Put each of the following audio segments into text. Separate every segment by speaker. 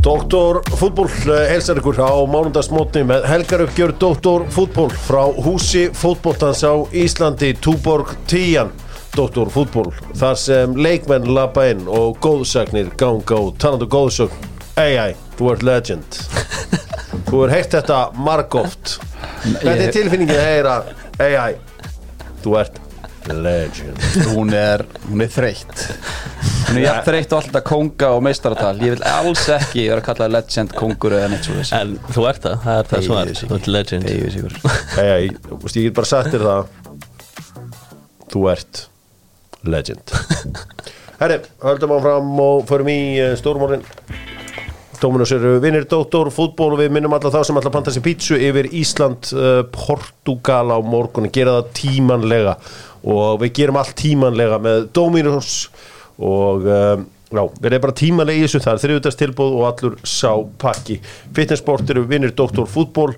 Speaker 1: Dóttor fútból helsar ykkur eh, á mánundagsmótni með helgaruppgjör Dóttor fútból frá húsi fútbóltans á Íslandi Túborg 10 Dóttor fútból þar sem leikmenn lappa inn og góðsagnir ganga og talandu góðsögn Ei, ei, þú ert legend Þú er heyrt þetta margóft Þetta er tilfinningin að heyra Ei, ei, þú ert legend
Speaker 2: hún er, hún er þreytt
Speaker 3: Nú ég er þreytt á alltaf konga og meistaratal Ég vil alls ekki vera að kalla legend, kongur eða neitt svo þessi
Speaker 4: En þú ert það, það er það sem er Þú ert legend
Speaker 3: Þegar við sigur
Speaker 1: Ei, ei, þú veist, ég get bara sagt þér það Þú ert legend Herri, höldum áfram og förum í stórmórin Dóminus eru vinnir dóttor, fútból og við minnum alla þá sem alla panta sér pítsu yfir Ísland, uh, Portugal á morgun gera það tímanlega og við gerum allt tímanlega með Dóminus og um, já, við erum bara tímanlega í þessu það er þriðutast tilbúð og allur sá pakki fitnessport eru vinnir dóttor, fútból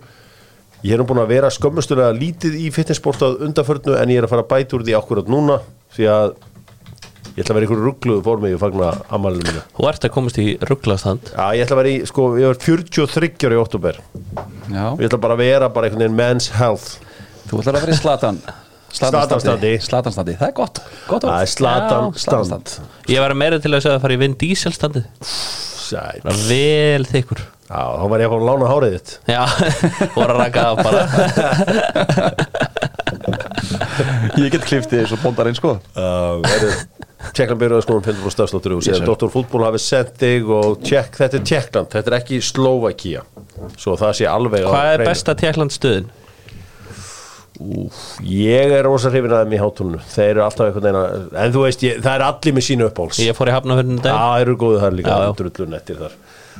Speaker 1: Ég er nú búin að vera skömmustulega lítið í fitnessport að undaförnu en ég er að fara að bæta úr því akkurat núna því að ég ætla að vera í ykkur ruggluðu formi og fagna ammælinu mínu.
Speaker 4: Þú ert að komast í rugglastand
Speaker 1: Já, ég ætla að vera í, sko, ég var 43 ára í oktober. Ég
Speaker 3: Já,
Speaker 1: ætla bara að vera bara einhvern veginn men's health.
Speaker 3: þú ætlar að vera í slatan
Speaker 1: Slatanstandi.
Speaker 3: Slatanstandi, það er gott, gott orð.
Speaker 1: Það er slatan
Speaker 3: Já,
Speaker 1: stand.
Speaker 4: Ég var meira til að segja að fara í Vin Diesel standið
Speaker 1: Sæl.
Speaker 4: Bara vel þykkur
Speaker 1: Já, þá var ég að fá að lána hárið þitt.
Speaker 4: Já, þú var að raka af bara
Speaker 2: ég get kliftið eins og bóndar eins sko
Speaker 1: Tjekkland byrjuða skoðum 50% stafsláttur og síðan Dr. Fútból hafi sendt þig og tjekk, þetta er Tjekkland, þetta er ekki Slovakia svo það sé alveg á
Speaker 4: Hvað er
Speaker 1: hreinu.
Speaker 4: besta Tjekkland stöðin?
Speaker 1: Ég er rosa hrifin að þeim í hátúlunu Þeir eru alltaf einhvern veginn að En þú veist, ég, það er allir með sínu uppáls
Speaker 4: Ég fór í hafnafjörnum dag
Speaker 1: Það eru góðu þar líka
Speaker 4: Já, já.
Speaker 1: Drullun eftir þar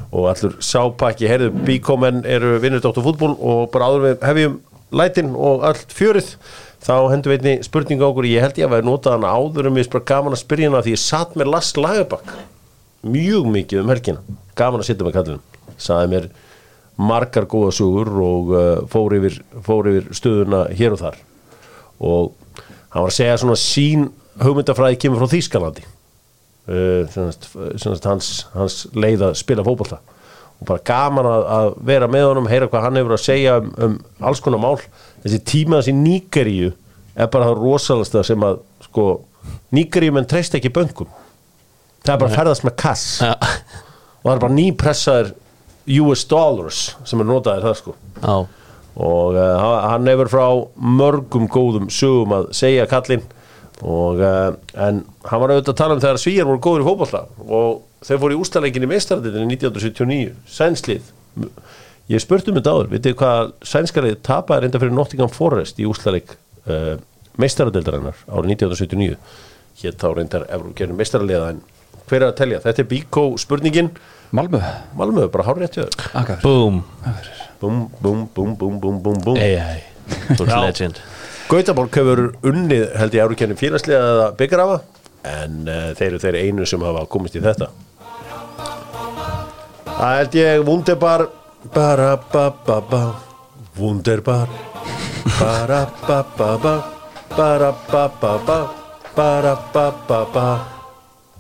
Speaker 1: Og allur sápakki, heyrðu, bíkomenn eru vinnur dóttu fútból Og bara áður við hefjum lætin og allt fjörið Þá hendur við einni spurningu á okkur Ég held ég að vera notað hana áður um Ég er bara gaman að spyrja hana Því ég satt með Lass Lagerbakk Mjög mikið um helgina Gaman að sitja með kallinum Saði mér margar góða sögur Og uh, fór, yfir, fór yfir stöðuna hér og þar og hann var að segja svona sín hugmyndafræði kemur frá Þýskalandi uh, semast, semast hans, hans leið að spila fótbolta og bara gaman að, að vera með honum heyra hvað hann hefur að segja um, um alls konar mál þessi tíma þessi nýgeríu er bara það rosalasta sem að sko, nýgeríu menn treyst ekki böngum það er bara að ferðast með kass
Speaker 4: Já,
Speaker 1: og það er bara nýpressaður US dollars sem er notaðir það sko
Speaker 4: já,
Speaker 1: og uh, hann hefur frá mörgum góðum sögum að segja kallinn og uh, en hann var auðvitað að tala um þegar svíjar voru góður í fótballa og þau fóru í ústaleikin í meistaradeildinni 1979, sænslið ég spurti um þetta áður, vitið þið hvað sænskalið tapaði reynda fyrir Nottingham Forest í ústaleik uh, meistaradeildarinnar árið 1979 hér þá reyndar Evrókjörnum meistaraliða en hver er að telja, þetta er Bíkó spurningin
Speaker 3: Malmö,
Speaker 1: Malmöðu, bara hár rétt hjá þér
Speaker 3: akkar
Speaker 4: boom
Speaker 1: búm, búm, búm, búm, búm, búm, búm
Speaker 4: AI, þú ert
Speaker 1: Já.
Speaker 4: legend
Speaker 1: Gautaborg hefur unnið held ég árukennum félagslega eða byggrafa en uh, þeir eru þeir einu sem hafa komist í þetta Það held ég Wunderbar bara ba ba ba Wunderbar bara ba ba ba bara ba ba ba bara ba ba ba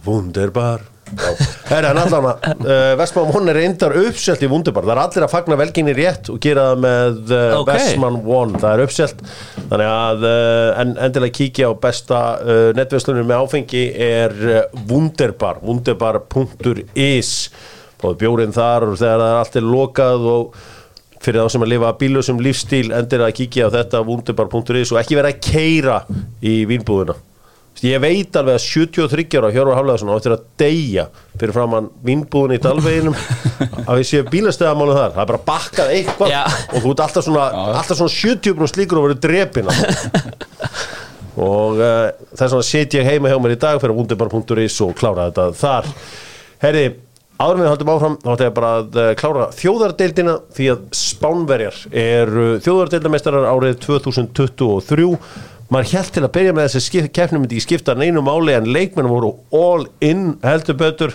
Speaker 1: Wunderbar Það er hann allan að uh, Vestmann One er reyndar uppselt í Wunderbar Það er allir að fagna velginni rétt og gera það með uh,
Speaker 4: Ok.
Speaker 1: Vestmann One Það er uppselt Þannig að uh, en, endilega kíkja á besta uh, netverslunum með áfengi er uh, Wunderbar Wunderbar.is Bóðu bjórinn þar og þegar það er allt er lokað og fyrir þá sem að lifa bílösum lífstíl endir að kíkja á þetta wunderbar.is og ekki vera að keira í vínbúðuna Þú veist, ég veit alveg að 73 ára Hjörvar Hafleðarsson á eftir að deyja fyrir framann vínbúðun í dalveginum að við séum bílastöðamálum þar það er bara bakkað eitthvað
Speaker 4: Já.
Speaker 1: og þú ert alltaf svona, alltaf svona 70 brúst líkur og verður drepina og uh, þess vegna set ég heima hjá mér í dag fyrir wunderbar.is og klára þetta þar herri, áður en við haldum áfram þá ætti ég bara að uh, klára þjóðardeildina því að Spánverjar eru þjóðardeildameistarar árið 2023 maður hjælt til að byrja með þessi skip, keppnum myndi ekki skipta neinu máli en leikmennum voru all in heldur betur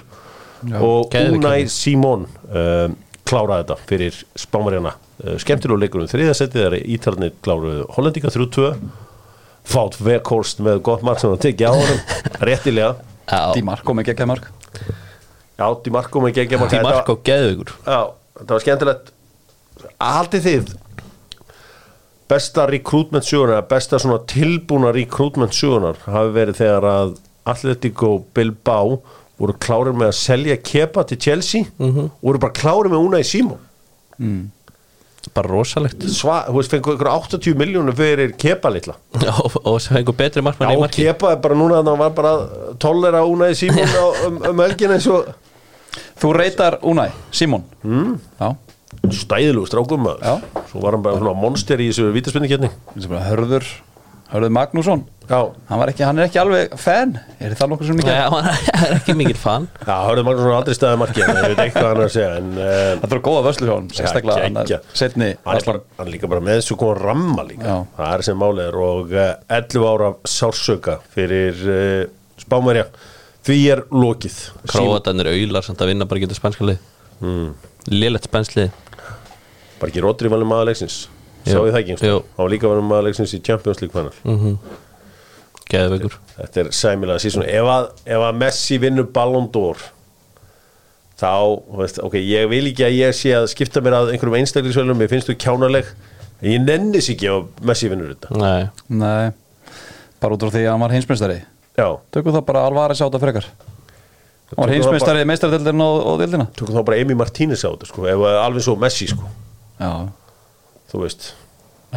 Speaker 1: og
Speaker 4: geðveik
Speaker 1: Unai Simón uh, kláraði þetta fyrir Spánverjana uh, skemmtilega leikur um þriðasettið þegar ítarnir kláruðu Hollendinga 3-2 fát vekhorst með gott mark sem hann tekið á honum réttilega
Speaker 4: Já,
Speaker 3: Dímark, kom ekki ekki að mark
Speaker 1: Já, Di Marco með geggja marka
Speaker 4: Di
Speaker 1: Þetta var-
Speaker 4: Marco geðugur
Speaker 1: Já, þetta var skemmtilegt Haldið þið Besta recruitment sögunar Besta svona tilbúna recruitment sögunar hafi verið þegar að Atletico Bilbao voru klárir með að selja kepa til Chelsea
Speaker 4: Mhm.
Speaker 1: voru bara klárir með Unai Simon
Speaker 4: bara rosalegt
Speaker 1: Sva, þú veist, fengur ykkur 80 miljónur fyrir kepa litla
Speaker 4: og, og sem fengur betri
Speaker 1: Já,
Speaker 4: markmann í marki
Speaker 1: kepa er bara núna þannig að hann var bara að tollera Unai Simon á, um, um helgin eins og
Speaker 3: Þú reytar Unai, Simon mm. Já,
Speaker 1: stæðilegu strákum maður.
Speaker 3: Já.
Speaker 1: svo var hann bara svona monster í þessu vítaspinningjarni
Speaker 3: eins og bara Hörður Hörður Magnússon
Speaker 1: Já,
Speaker 3: hann, var ekki, hann er ekki alveg fan Er það nokkuð sem mikið?
Speaker 4: Já, hann er ekki mikið fan
Speaker 1: Já, Hörður Magnússon er aldrei staðið markið en ég veit eitthvað hann er að segja en uh,
Speaker 3: Það er góða vöslu hjá hann Sérstaklega hann
Speaker 1: geggjað.
Speaker 3: að setni
Speaker 1: hann, er bara, hann er líka bara með þessu konar ramma líka
Speaker 3: Já.
Speaker 1: það er sem málið er og uh, 11 ára sársöka fyrir uh, spámerja því er lokið Sýn-
Speaker 4: Króatanir auðlar samt að vinna bara getur spænska lið
Speaker 1: Hmm.
Speaker 4: mm. Lillet spænslið
Speaker 1: bara ekki Rodri valið maður leiksins sá
Speaker 4: Jú.
Speaker 1: ég það ekki einhvers
Speaker 4: Jú.
Speaker 1: staðar? hann var líka valið maður leiksins í Champions League panel
Speaker 4: Geðugur
Speaker 1: þetta er sæmilega sísun ef að, ef að Messi vinnur Ballon d'Or þá, þú veist, ok, ég vil ekki að ég sé að skipta mér að einhverjum einstaklisvölum mér finnst þú kjánaleg en ég nennis ekki ef Messi vinnur þetta
Speaker 4: Nei,
Speaker 3: Nei, bara út frá því að hann var hinsmestari
Speaker 1: já,
Speaker 3: Tökum það bara alvarið sáta frekar Hann var
Speaker 1: Tökum það
Speaker 3: hinsmestari, meistaradeildin og, og deildina
Speaker 1: tökum þá bara Emi Martínez á þetta sko, ef að- alveg svo Messi sko
Speaker 3: Já
Speaker 1: þú veist,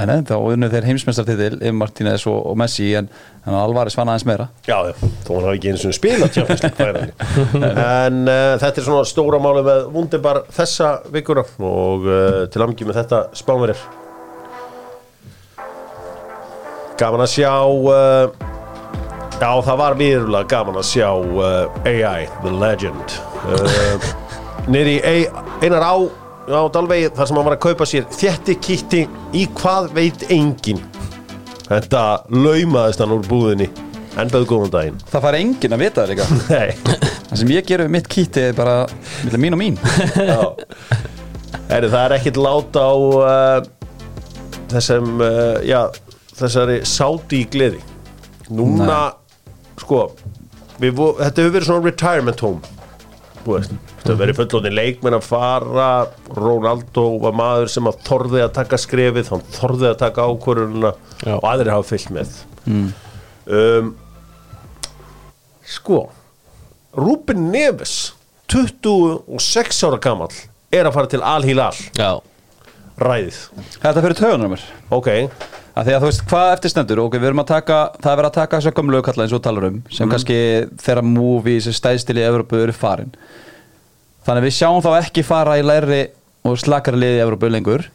Speaker 3: En en þá unnu þeir heimsmeistartitil Yfir Martínez og, og Messi En, en Alvarez vann aðeins meira
Speaker 1: já, já þó hann hafi ekki einu svona spila Champions League færandi en uh, þetta er svona stóra máli með Wunderbar þessa vikuna og uh, til amgjum með þetta spánverðir gaman að sjá uh, já, það var viðurlega gaman að sjá uh, AI, the legend uh, nýri einar á á Dalvegi þar sem hann var að kaupa sér þétti kitti í hvað veit enginn Þetta laumaðist hann úr búðinni Endaðu góðan daginn
Speaker 3: Það fær enginn að vita það líka
Speaker 1: Nei
Speaker 3: Það sem ég gerum mitt kýtti er bara Milla mín og mín
Speaker 1: Heru, Það er ekkert lát á uh, þessum uh, já, þessari sáti í gleði Núna sko við, vo- þetta hefur verið svona retirement home þú veist, þetta hefur verið fullóðin leikmenn að fara Ronaldo var maður sem að þorði að taka skrefið hann þorði að taka ákvörununa
Speaker 4: Já.
Speaker 1: og aðrir hafa fyllt með um, sko Ruben Neves 26 ára gamall er að fara til Al-Hilal
Speaker 4: já
Speaker 1: ræðið,
Speaker 3: Þetta fyrir tögunar mér
Speaker 1: ok
Speaker 3: að því að þú veist hvað eftir stendur og við erum að taka, það er verið að taka þessu gömlu kalla eins og þú talar um
Speaker 1: Mhm.
Speaker 3: sem kannski þeirra múvi sem stæðstil í Evropu eru farin þannig að við sjáum þá ekki fara í læri og slakari liði í Evropu lengur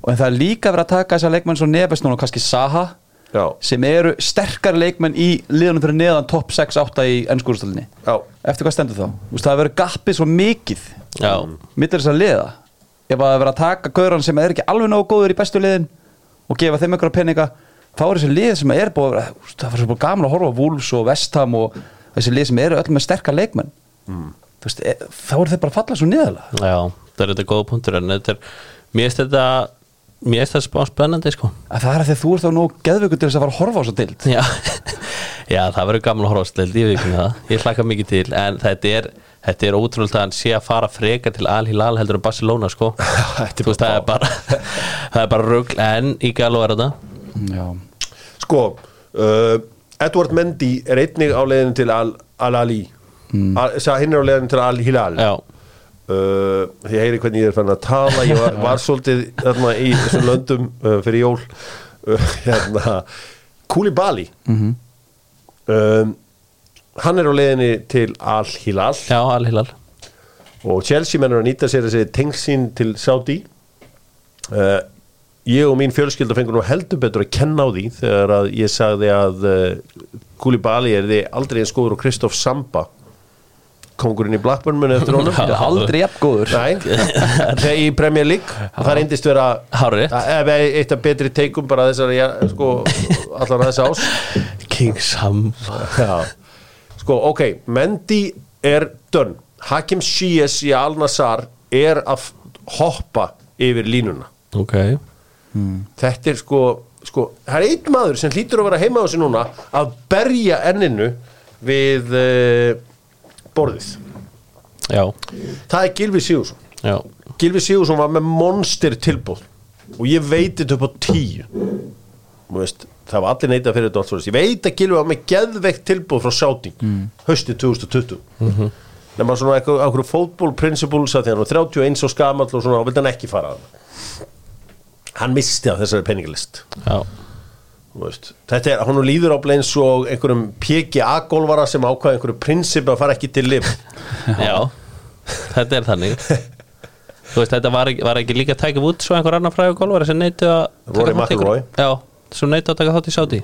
Speaker 3: og en það er líka verið að taka þessa leikmenn svo nefest núna og kannski Saha
Speaker 1: já,
Speaker 3: sem eru sterkari leikmenn í liðunum fyrir neðan topp 6-8 í ennskúrstölinni
Speaker 1: já,
Speaker 3: eftir hvað stendur þá? Þú veist, það verið gappið svo mikið
Speaker 4: Já,
Speaker 3: mittur þess að liða ef að það er verið að taka gauran sem er ekki alveg nógu góður í bestu liðin og gefa þeim einhverja peninga þá er þessi lið sem er búið að vera úst, það var svo búið gaman að horfa á Wolves og Vestham og þessi lið sem eru öll með sterka leikmenn Þú veist, e, þá eru þeir bara að falla svo niðurlega
Speaker 4: já, það er þetta góða punktur en þetta er, mér finnst þetta mér finnst þetta spá spennandi sko
Speaker 3: að það er að því að þú ert þá nógu geðveikur til þess að fara að horfa á svo dild
Speaker 4: Já, já það verður gaman að horfa á slild í vikinu það Ég hlakka mikið til en þetta er, þetta er ótrúlega að hann sé að fara freka til Al-Hilal heldur en Barcelona sko Þú veist það er bara það er bara rugl en í gælu er þetta
Speaker 3: Já.
Speaker 1: sko uh, Edward Mendy er einnig á leiðinu til Al- Al-Ali mm. Al hinn er á leiðinu til Al-Hilal
Speaker 4: Já,
Speaker 1: uh, ég heyri hvernig ég er fann að tala ég var, var svolítið þarna í þessum löndum uh, fyrir jól uh, hérna, Koulibaly um, hann er á leiðinni til Al-Hilal
Speaker 4: já Al-Hilal
Speaker 1: og Chelsea mennur að nýta sér þessi tengsinn til Saudi uh, ég og mín fjölskylda fengur nú heldur betur að kenna á því þegar að ég sagði að uh, Koulibaly er þið aldrei eins góður og Kristoff Samba kongurinn í Blackburn muni eftir honum
Speaker 3: Það er aldrei jafn góður
Speaker 1: Nei, þegar í Premier League það reyndist vera
Speaker 4: Hárrétt.
Speaker 1: að- eða eitt af betri teikum bara þessar sko, allan þess ás
Speaker 4: King Sam
Speaker 1: Já. sko, ok, Mendy er dönn, Hakim Ziyech í Al-Nassar er að f- hoppa yfir línuna
Speaker 4: Ok,
Speaker 1: þetta er sko, sko það er einn maður sem hlýtur að vera heima á sig núna að berja enninu við uh, eh, borðið
Speaker 4: já,
Speaker 1: það er Gilvi Sigurðsson
Speaker 4: já,
Speaker 1: Gilvi Sigurðsson var með monster tilbúð og ég veit þetta upp á tíu Þú veist, það var allir neita fyrir þetta og allt svo ég veit að Gilvi var með geðveikt tilbúð frá Sáting mm. hösti 2020 mm -hmm. nema svona eitthvað okkur fótból principles að því hann var 31 og skamall og svona og vildi hann ekki fara að hann misti af þessari peningalist
Speaker 4: já,
Speaker 1: Þú veist, þetta er, hún líður á bleins og einhverjum PGA-gólvara sem ákvaði einhverju prinsip að fara ekki til lif
Speaker 4: já. þetta er þannig þú veist þetta var ekki, var ekki líka tækja út svo einhver annar frægur golfari sem neyti að taka
Speaker 1: Rory
Speaker 4: þátt í einhverju- já, sem neyti að taka þátt í sáti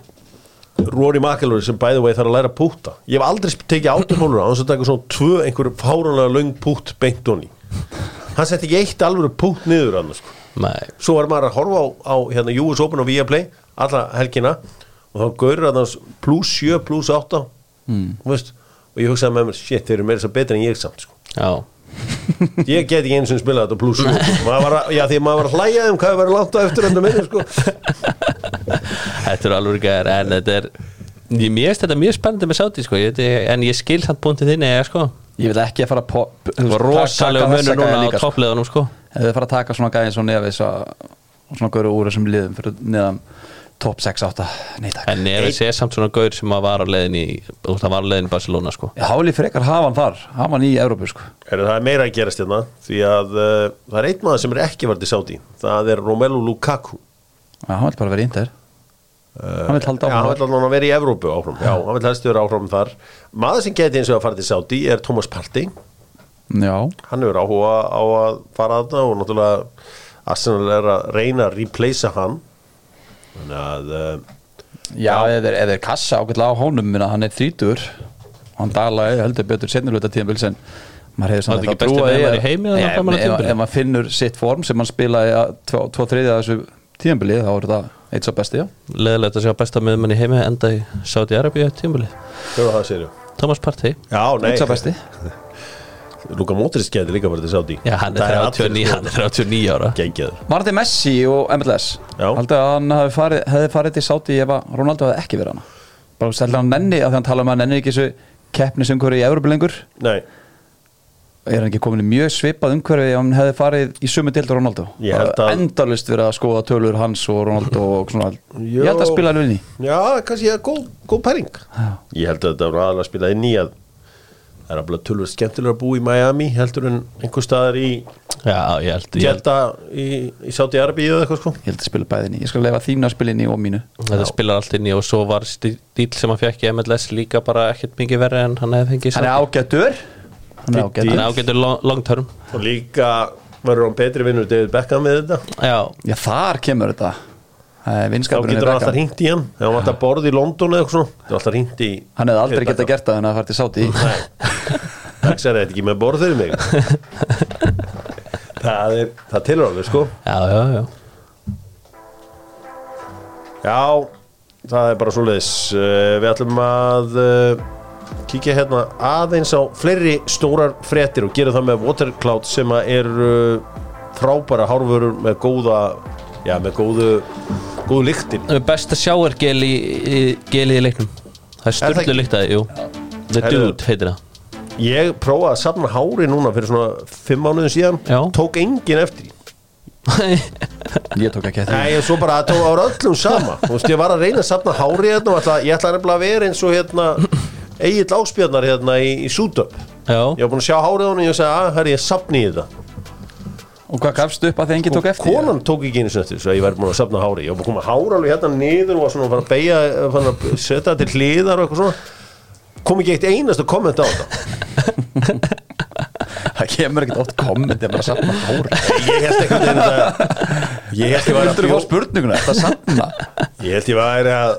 Speaker 1: Rory McIlroy sem bæði vegi þarf að læra að púta ég hef aldrei sp- tekið átumhólur á hans að taka svona tvö einhverju fáranlega löng pút beint honi hann setti ekki eitt alvöru pút niður annars sko.
Speaker 4: nei,
Speaker 1: svo var maður að horfa á, á hérna, US Open og Viaplay alla helgina og þá gaurur að hans plus 7, plus 8 mm. veist, og ég hugsaði með mér shit, þeir eru meira svo betri en ég samt sko.
Speaker 4: já,
Speaker 1: ég get ekki eins og spila þetta pluss maður var að, já því maður var að hlæja um hvað það var langt á eftir enda minni sko
Speaker 4: Þetta eru alveg gæðar en þetta er ég mér finnst þetta mjög spennandi með sáti sko. ég, ég- en ég skil samt búntið þinni eða, sko.
Speaker 3: Ég vil ekki að fara að pop
Speaker 4: það var rosalega munur núna á
Speaker 3: sko.
Speaker 4: toppleðunum sko.
Speaker 3: Ef þið fara að taka svona gæði eins og nevis og svona góru úr þessum liðum fyrir neðan top 6-8 Nei takk
Speaker 4: en ég sé samt svona gaur sem að var á leiðin í þú veist, hann var á leiðin í Barcelona sko.
Speaker 3: Háli frekar hafa hann þar, hafa hann í Evrópu sko
Speaker 1: er það er meira að gerast hérna því að uh, það er einn maður sem er ekki vart í sáti það er Romelu Lukaku
Speaker 3: Já, hann vil bara vera í Inter Hann vil halda
Speaker 1: Eh, já, hann
Speaker 3: áfram
Speaker 1: vil alveg vera í Evrópu áfram já, hann vil helst vera áfram þar maður sem geti eins og að fara til sáti er Thomas Partey
Speaker 3: Já,
Speaker 1: hann hefur áhuga á að fara að það og náttúrulega Arsenal er að reyna að replacea hann þannig að uh,
Speaker 3: já ef þeir, ef þeir kassa ágætlega á honum minna, hann er þrítur hann dalaði heldur betur setniluta tíðanbils en maður hefur
Speaker 4: Var
Speaker 3: samt
Speaker 4: þetta
Speaker 3: alltaf
Speaker 4: ekki besti
Speaker 3: trúað í
Speaker 4: miðmaður
Speaker 3: að-
Speaker 4: í heimi þarna
Speaker 3: Nei,
Speaker 4: framan af
Speaker 3: ef-
Speaker 4: tímabilinu?
Speaker 3: Ef maður finnur sitt form sem hann spilaði að tvo, tvo þriðja af þessu tíðanbili þá er þetta eitt svo besti, já
Speaker 4: leðilegt að sjá besta miðmenn í heimi enda í Saudi Arabia tímuli
Speaker 1: hvað var það segir
Speaker 4: Thomas Partey
Speaker 1: já,
Speaker 3: Eitt svo besti
Speaker 1: Luka Modric geti líka verið til Saudi
Speaker 4: já, hann, er sko.
Speaker 1: Það
Speaker 4: 39, hann er 39 ára
Speaker 1: Gengjaður
Speaker 3: Var þetta Messi og MLS?
Speaker 1: Já.
Speaker 3: Haldið að hann hefði farið, hefði farið til Sáti ef að Ronaldo hefði ekki verið hana Bara stærlega hann nenni að því hann tala um að hann nenni ekki þessu keppnis umhverfi í Európa lengur
Speaker 1: Nei,
Speaker 3: Er hann ekki komin í mjög svipað umhverfi ef hann hefði farið í sumu dildur Ronaldo
Speaker 1: Ég held
Speaker 3: Bara
Speaker 1: að-
Speaker 3: Endalaust verið að skoða tölur hans og Ronaldo og svona
Speaker 1: Jó.
Speaker 3: Ég held að spila hann inn í
Speaker 1: já, kannski ég er góð, góð pæring
Speaker 3: Já.
Speaker 1: Ég held að þetta voru aðalega að spila inn í að Það er alveg tölvöld skemmtilega að búa í Miami heldur en einhver staðar í
Speaker 4: já, ég held, ég held
Speaker 1: Jedda í, í Saudi Arabíu eða eitthvað sko
Speaker 3: Ég held að spila bæði inn í Ég skal lefa þínu að spila inn í og mínu
Speaker 4: þetta spilar allt inn í og svo var stíl sem hann fekk í MLS líka bara ekkert mikið verri en hann hefði fengið í
Speaker 3: Hann er
Speaker 4: Saudi.
Speaker 3: ágættur Hann er
Speaker 4: hann
Speaker 3: ágættur
Speaker 4: er ágættur long, long term
Speaker 1: Og líka verður hann betri vinnur David Beckham með þetta
Speaker 4: já,
Speaker 3: Já þar kemur þetta Það er
Speaker 1: Þá
Speaker 3: vinskapurinn
Speaker 1: getur hann alltaf
Speaker 3: Beckham.
Speaker 1: hringt í hann Ef hann vant að borða í London eða eitthvað svona Það er alltaf hringt í
Speaker 3: Hann hefði aldrei getað gert það en að fara til Sáti
Speaker 1: Dagsar þetta ekki með borð fyrir mig Það er, það tilur alveg sko
Speaker 4: já, já, já.
Speaker 1: Já, það er bara svo leiðis Við ætlum að uh, kíkja hérna aðeins á fleiri stórar fréttir og gera það með Watercloud sem að eru frábæra hárvörur með góða já, með góðu góðu lyktin
Speaker 4: besta sjáargel í, í gelið í leiknum það
Speaker 1: Er
Speaker 4: er
Speaker 1: það
Speaker 4: styrlu
Speaker 1: ekki?
Speaker 4: líkt að jú The
Speaker 1: Herðu.
Speaker 4: Dude heitir það
Speaker 1: Ég prófaði að safna hári núna fyrir svona fimm mánuðum síðan
Speaker 4: Já.
Speaker 1: tók engin eftir því.
Speaker 3: Ég tók ekki eftir því.
Speaker 1: Nei, ég svo bara að tók ára öllum sama Þú veist, ég var að reyna að safna hári hérna og ætla, ég ætla nefnilega að vera eins og hérna Egil Áspjarnar hérna í, í Sútöp Ég
Speaker 4: já,
Speaker 1: var búin að sjá hárið á hún og ég sagði að herri ég sapni í þetta
Speaker 3: Og hvað gafst upp að þið enginn tók eftir?
Speaker 1: Konan tók ekki einu sinni eftir svo að ég væri búin að sapna hári Ég var búin að koma hára alveg hérna niður og var svona að fara að beigja fann að setja þetta til hliðar og eitthvað svona kom ekki eitt einasta komment á þetta
Speaker 3: Það kemur ekkert ótt komment Ég bara safna hári
Speaker 1: Ég held ekki að þetta Ég held ég væri að
Speaker 3: Vildur þú fá
Speaker 1: bjó-
Speaker 3: spurninguna? Það safna
Speaker 1: ég held ég væri að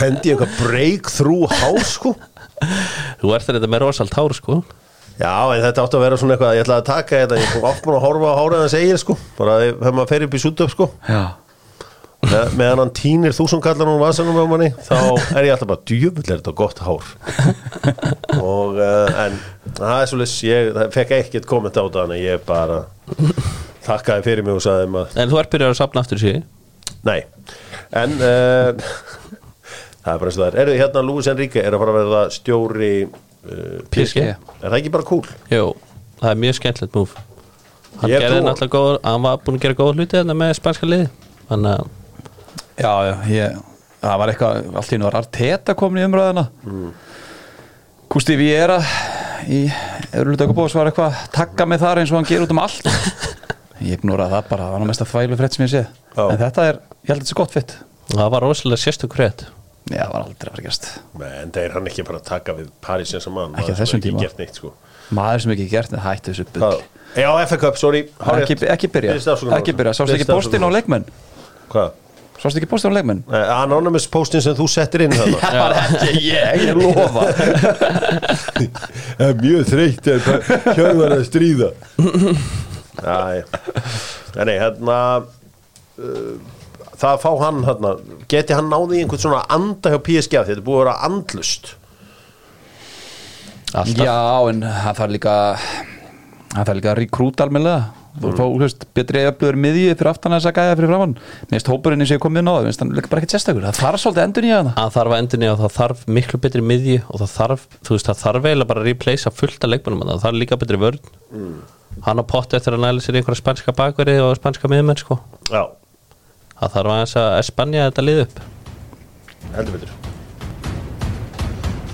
Speaker 1: hendi ég eitthvað breakthrough hár sko
Speaker 4: þú ert þetta með rosalt hár sko
Speaker 1: Já, en þetta átti að vera svona eitthvað Ég ætlaði að taka þetta, ég kom oft búin að horfa á hárið hans eigin sko bara þegar maður fer upp í sútöp sko
Speaker 3: Já
Speaker 1: með, meðan hann tínir þúsundkallar og vasanum á manni, þá er ég alltaf bara djöfull er þetta gott hár og uh, en það er svolítið, ég það fekk ekkert komment á þetta þannig að ég bara þakkaði fyrir mig og sagði maður
Speaker 4: en þú ert byrjar að sapna aftur síði
Speaker 1: Nei, en uh, það er bara eins og það er. Eru hérna Lúis Enrique er að fara að verða stjóri uh,
Speaker 4: PSG.
Speaker 1: Er það ekki bara cool?
Speaker 4: jú, það er mjög skemmtilegt múf hann
Speaker 1: Ég
Speaker 4: gerði
Speaker 1: trúi-
Speaker 4: náttúrulega góð hann var búin að gera góða hluti þarna með spænska liði þannig að
Speaker 3: Já, já, ég, það var eitthvað allt í nú var Arteta komin í umræðina mm. Kústi Viera í Örluta Okobós var eitthvað að takka mig þar eins og hann gerur út um allt Ég ignora það bara, það var nú mest að þvælu frétt sem ég sé
Speaker 1: Já.
Speaker 3: En þetta er, ég held að þetta sé gott fitt
Speaker 4: það var rosalega sérstök frétt
Speaker 3: Já, það var aldrei að fara að gerast
Speaker 1: en það er hann ekki bara að taka við Paris sem mann
Speaker 3: Ekki á þessum tíma.
Speaker 1: ekki gert neitt sko
Speaker 3: Maður sem ekki gert, hættu þessu bull
Speaker 1: Hvað? Já, FA Cup, sorry hárrétt.
Speaker 3: ekki, ekki byrja,
Speaker 1: Biðst afsökunar.
Speaker 3: ekki byrja Sástu ekki
Speaker 1: Biðst
Speaker 3: postin á
Speaker 1: afsökunar.
Speaker 3: leikmenn
Speaker 1: Hvað?
Speaker 3: Sástu ekki postin á leikmenn
Speaker 1: Nei, Anonymous postin sem þú settir inn þarna
Speaker 3: Það var ekki ég, ég lofa
Speaker 1: Það er Eh, mjög þreytt Hjörvar að stríða Æ Nei, hérna uh, Það að fá hann hérna Geti hann náði einhvern svona anda hjá PSG af því Þetta er búið að vera andlust
Speaker 4: alltaf
Speaker 3: Já, en hann þarf líka hann þarf líka að rekrúta almennilega þú fá, hlust, betri öflugur miðju fyrir aftan þess að gæja fyrir framann minnst hópurinn eins og ég kom inn á það, minnst hann líka bara ekkert sérstakur það þarf svolítið hérna. endur nýja það
Speaker 4: að þarf að endurni og það þarf miklu betri miðju og það þarf, þú veist, það þarf eiginlega bara að replacea fullt af leikmennum þarna. það þarf líka betri vörn hann á potti eftir að næla sér í einhverja spænska bakverði og spænska miðmenn sko
Speaker 1: Já,
Speaker 4: það þarf aðeins að spanja þetta lið upp
Speaker 1: heldur betur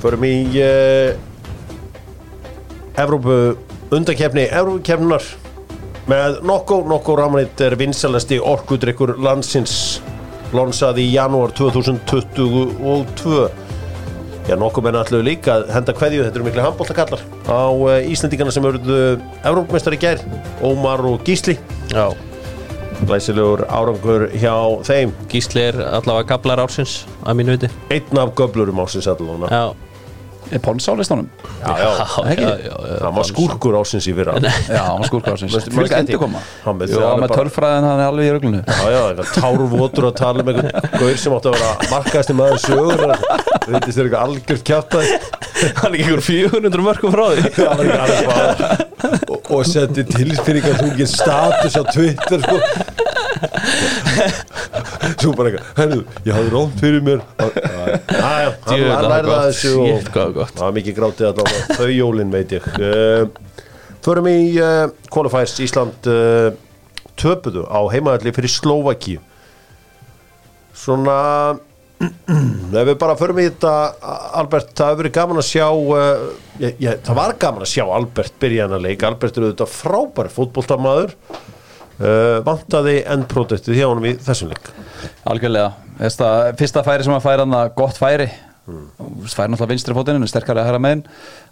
Speaker 1: Förum í uh, Evrópu undakefni Evrópukefnunar með Nokko, Nokko Ramanit er vinsalasti orkudrykkur landsins lonsað í janúar 2022 Já, nokkuð menn allu líka að henda kveðju, þetta eru miklu handbóltakallar á eh, Íslendingana sem eruðu Evrópumestari gær, Ómar og Gísli
Speaker 4: Já.
Speaker 1: Læsilegur árangur hjá þeim
Speaker 4: Gísli er allavega gablar ársins að mínu viti
Speaker 1: Einn af göblurum ásins allan
Speaker 4: já,
Speaker 3: er Pons á listanum?
Speaker 1: já, já,
Speaker 3: ekki?
Speaker 4: já, já, já.
Speaker 1: hann var skúrkur ásins í fyrra já,
Speaker 3: Já, hann skúrka á sinns
Speaker 1: Veistu, maður
Speaker 3: fyrir
Speaker 1: skemmti-
Speaker 3: endur koma
Speaker 1: Hann veit
Speaker 3: Jó,
Speaker 1: það, hann er
Speaker 3: með
Speaker 1: bara-
Speaker 3: tölfræðin hann er alveg í röglunu
Speaker 1: já, eitthvað tárvotur að tala um einhvern gaur sem átti að vera markaðasti maður sögur reyndist þér eitthvað algjört kjáttað
Speaker 4: hann er ekki einhver 400 mörgum frá því
Speaker 1: og, og sendi tilfinningar þú ekki status á Twitter sko. svo bara eitthvað hennu, ég hafði rómt fyrir mér aðja, hann
Speaker 4: Djöfull, það var
Speaker 1: lærði að
Speaker 4: gott.
Speaker 1: þessu og
Speaker 4: Shit, hvað var gott.
Speaker 1: það var mikið grátið allavega þau jólin veit ég Eh, förum í uh, qualifiers Ísland uh, töpuðu á heimaðalli fyrir Slovaki svona Ef við bara förum í þetta Albert, það hefur verið gaman að sjá uh, ég, ég, það var gaman að sjá Albert byrja hann að leika, Albert eru auðvitað frábær fótboltamaður uh, vantaði endproduktið hjá honum í þessum leik
Speaker 3: Algjörlega, Þess að fyrsta færi sem hann færi hann að gott færi mm. færi náttúrulega vinstri fótinn en sterkari að hæra megin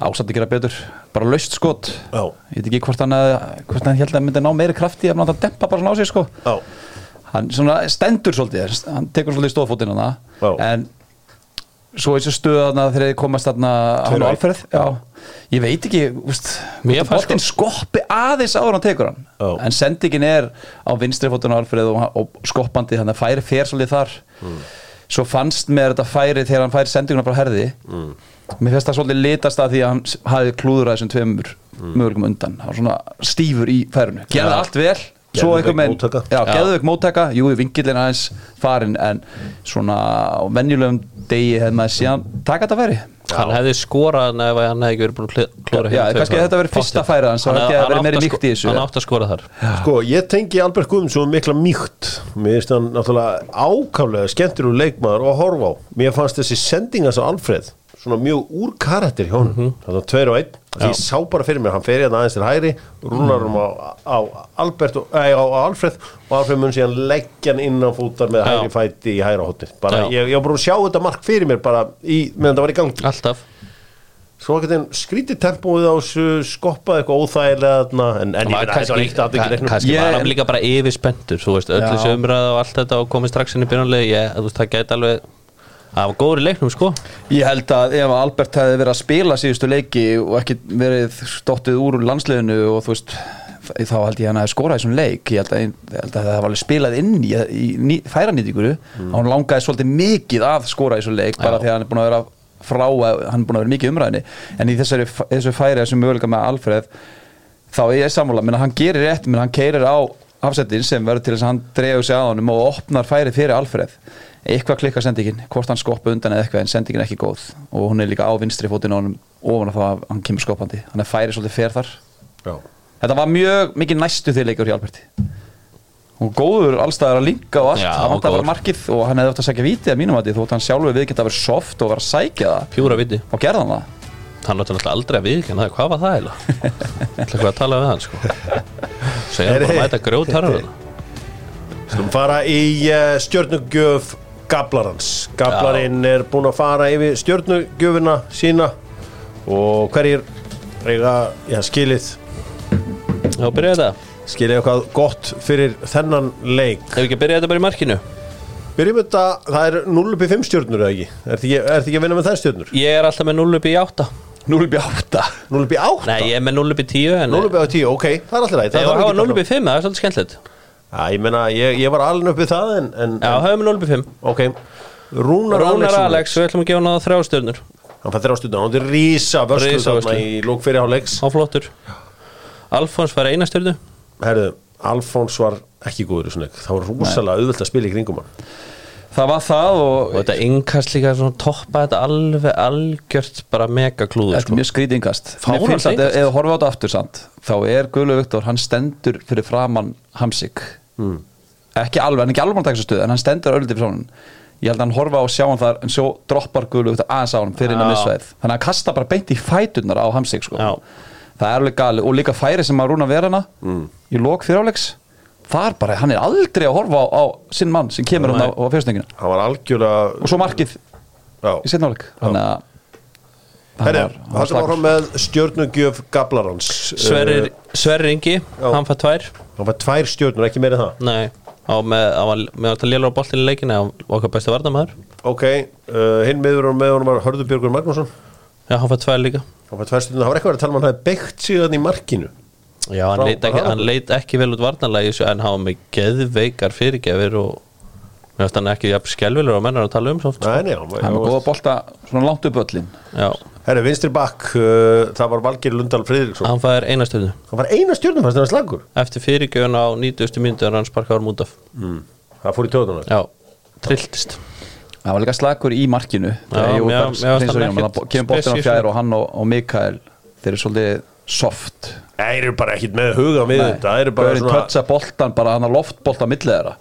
Speaker 3: ásandi gera betur, bara laust skot
Speaker 1: Já.
Speaker 3: ég veit ekki hvort hann, að- hvort hann held að myndi ná meiri krafti ef hann átti að dempa bara svona á sig sko
Speaker 1: Já,
Speaker 3: hann svona stendur svolítið hann tekur svolítið stóðfótinn
Speaker 1: Já.
Speaker 3: hann en svo eins og stöða hann þegar þið komast hann
Speaker 1: Tveir á
Speaker 3: hann á
Speaker 1: einn.
Speaker 3: alferð já. ég veit ekki, úst
Speaker 4: Mér fannst sko-
Speaker 3: bóttin skoppi aðeins áður en hann tekur hann
Speaker 1: Já.
Speaker 3: en sendingin er á vinstri fótinn á alferð og, og skoppandi þannig að færi fer svolítið þar
Speaker 1: Mm.
Speaker 3: svo fannst mér þetta færi þegar hann færi sendinguna bara herði mm. mér finnst það svolítið litast að því að hann s- hafði klúður að þessum tveimur
Speaker 1: Mm.
Speaker 3: möguleikum undan hann var svona stífur í færinu gerði allt vel svo
Speaker 1: Geðveik
Speaker 3: einhvern
Speaker 1: móttaka.
Speaker 3: veginn já, geðveik móttaka, jú, vingillin aðeins farin en svona á venjulegum degi hefði maður síðan taka þetta færi
Speaker 4: hann hefði skorað hann ef hann hefði ekki verið búin að kl- klóra hérna
Speaker 3: Já,
Speaker 4: hinum
Speaker 3: kannski
Speaker 4: tveim.
Speaker 3: þetta verið fyrsta
Speaker 4: Pottþétt.
Speaker 3: færið hans, þá
Speaker 4: Hann-
Speaker 3: held ég að
Speaker 4: hann
Speaker 3: verið meiri
Speaker 4: átti
Speaker 3: mýkt í
Speaker 4: sko-
Speaker 3: þessu.
Speaker 4: hann átti að skora þar
Speaker 1: sko, ég tengi Albert Guðmundsson mikla mýkt mér finnst hann náttúrulega ákaflega skemmtir úr leikmaður og að horfa á mér fannst þessi sendingas á Alfred svona mjög úr karakter hjá honum
Speaker 4: Mhm.
Speaker 1: þannig að tveir og einn, því ég sá bara fyrir mér hann fer hérna aðeins til hægri, rúlar um á, á, Albert, og- ei, á, á Alfred og Alfred mun síðan leggja hann innan fótar með
Speaker 4: Já.
Speaker 1: hægri fæti í hægra hóttir bara,
Speaker 4: Já.
Speaker 1: ég, ég var bara að sjá þetta mark fyrir mér bara í, meðan það var í gangi
Speaker 4: alltaf
Speaker 1: svo ekkert skrítið tempóið á þessu skoppaði eitthvað óþægilega þarna, en, en ég
Speaker 4: Var
Speaker 1: veit að þetta var eitt aðbyggjur
Speaker 4: kann-
Speaker 1: reiknum
Speaker 4: kannski
Speaker 3: Ég-
Speaker 4: var hann líka bara yfirspendur þú veist, öll
Speaker 3: Já.
Speaker 4: þessi umræða og allt þetta og komið strax inn í byrjunlega ég, þú veist, það gæti alveg það var góður í leiknum sko
Speaker 3: Ég held að ef Albert hefði verið að spila síðustu leiki og ekki verið dottið úr landsliðinu og þú veist þá held ég hann að skora þessum leik ég held að, ég held að það var alveg spilað inn í, í ný, færanýtinguru mm. hann langaði svolítið mikið að skora þessum leik bara því að hann er búin að vera frá að- hann er búin að vera mikið í umræðinni en í þessari, þessu færi þessum möguleika með Alfreð þá er ég sammála, menn að hann gerir rétt menn að hann keirir á afsettin sem verður til þess að hann dregur sig að honum og opnar færið fyrir Alfreð eitthvað klikkar sendingin, hvort hann skoppa undan eða eitthvað en sendingin er ekki góð og hún er líka á vinstri fótinn á honum ofan að það að hann kemur skoppandi hann er færið svolítið fer þar
Speaker 1: Já.
Speaker 3: Þetta var mjög mikið næstu því leikur hjá Alberti og góður allstaðar að linka og allt
Speaker 4: Já,
Speaker 3: hann átti að
Speaker 4: góður.
Speaker 3: vera markið og hann hefði átt að sækja viti að mínum að því þótt hann sjálfur við geta að vera soft og vera að sækja það
Speaker 4: pjúra viti
Speaker 3: og gerði hann það
Speaker 4: hann átti náttúrulega aldrei að viðkjanna það, hvað var það eiginlega ætla eitthvað að tala við hann sko segja hann bara að mæta grjót
Speaker 1: Skulum fara í uh, stjörnugjöf Gablarans Gablarinn er búinn að fara yfir stjörnugjöfina sína og hverjir eiga já, skilið
Speaker 4: þá byrja þetta,
Speaker 1: skilið eitthvað gott fyrir þennan leik
Speaker 4: ef ekki að byrja þetta bara í markinu
Speaker 1: Byrjum þetta, það er 0 upp í 5 stjörnur eða ekki? Er þið ekki, er þið ekki að vinna með þær stjörnur?
Speaker 4: ég er alltaf með 0 upp í 8
Speaker 3: 0 upp í 8
Speaker 1: 0 upp í 8?
Speaker 4: nei, ég er með 0 upp í 10 en
Speaker 1: 0 upp í 10, ok, það er alltaf leið
Speaker 4: Nei, ég var að hafa 0 upp í 5, það er svolítið skemmtilegt
Speaker 1: Já, ég meina, ég, ég var alveg upp í það en, en
Speaker 4: já, höfum við 0 upp í 5
Speaker 1: ok Rúnar,
Speaker 4: Rúnar
Speaker 1: Alexson-
Speaker 4: Alex, við ætlum að gefa hann á þrjá stjörnur
Speaker 1: Hann fættir á stjörnur, hann er rísa vörslu
Speaker 4: Risa
Speaker 1: þarna
Speaker 4: vörslu.
Speaker 1: í lók fyrir háleiks
Speaker 4: á flottur Alfons fær eina stjörnu
Speaker 1: Herðu, Alfons var ekki góður í svona leik. Það var rosalega auðvöld að spila í kringum hann
Speaker 3: það var það og
Speaker 4: og þetta innkast líka svona toppa þetta alveg algjört bara mega klúður
Speaker 3: Þetta er
Speaker 4: sko.
Speaker 3: mjög skrýtingast
Speaker 4: Fáránlegt
Speaker 3: Ef
Speaker 4: ingast.
Speaker 3: ef horfa á þetta aftur samt Þá er Guðlu Viktor, hann stendur fyrir framann Hamsik
Speaker 4: Hmm.
Speaker 3: Ekki alveg, hann er ekki alveg að taka þessu stuð En hann stendur öllítið fyrir framann Ég held að hann horfa á að sjá hann þar En svo droppar Guðlu Viktor aðeins á hann fyrir innan
Speaker 4: Já.
Speaker 3: missveið Þannig að hann kasta bara beint í fæturnar á Hamsik sko.
Speaker 4: Já.
Speaker 3: Það er alveg gali Og líka færi sem að rúna verana mm.
Speaker 4: Hmm.
Speaker 3: Í lok fyrir áleiks Þar bara, hann er aldrei að horfa á, á sinn mann sem kemur hann á, á fjörstöngina
Speaker 1: Hann var algjörlega
Speaker 3: Og svo markið í
Speaker 1: Já.
Speaker 3: sinn áleik Þannig að hann
Speaker 1: Herðu,
Speaker 3: var- hann var
Speaker 1: hann var
Speaker 3: slakur.
Speaker 1: hann með stjörnugjöf Gablarans
Speaker 4: Sverrir Sverrir Ingi, hann fær tvær
Speaker 1: Eh, Hann fætt tvær stjörnur, ekki meira en það
Speaker 4: Nei, á með, á með, með alltaf lélur á boltinu í leikinu á okkar besti varnamæður
Speaker 1: Ok, uh, hinn meður og með honum var Hörður Björgur Magnússon
Speaker 4: Já, hann fær tvær líka
Speaker 1: Hann fætt tvær stjörnur, það var eitthvað að tala um að hann hefði beikt síðan í markinu
Speaker 4: Já, hann
Speaker 1: Frá-
Speaker 4: leit ekki,
Speaker 1: frá-
Speaker 4: hann leit ekki vel út varnarlega í þessu en hann var með geðveikar fyrirgefir og mér finnst hann ekki jafn skelvilur og mennar að tala um svoft
Speaker 1: Nei, nei, hann
Speaker 3: hann var
Speaker 1: var
Speaker 3: góð að bolta svona langt upp öllin
Speaker 4: Já,
Speaker 1: Herru, vinstri bakk, uh, það var Valgeir Lundal Friðriksson
Speaker 4: hann fær eina stjörnu
Speaker 1: Hann var eina stjörnum fannst hann slagur
Speaker 4: Eftir fyrirgefin á 90. myndu er hann sparkaður mútaf
Speaker 1: Það fór í tjóðunar
Speaker 4: Já, trilltist
Speaker 3: það var líka slakur í markinu
Speaker 4: Já,
Speaker 3: þegar Jói
Speaker 4: mér-
Speaker 3: Bergs
Speaker 4: mér fannst
Speaker 3: hreinsar
Speaker 4: hann
Speaker 3: honum,
Speaker 4: ekkert
Speaker 3: hann kemur boltin á
Speaker 4: spesíus-
Speaker 3: fjær og hann og, og Mikael þeir eru svolítið soft
Speaker 1: Það eru bara ekkit með huga við þetta Það eru bara
Speaker 3: Gaurinn
Speaker 1: svona
Speaker 3: toucha boltan bara hann að loftbolta millið þeirra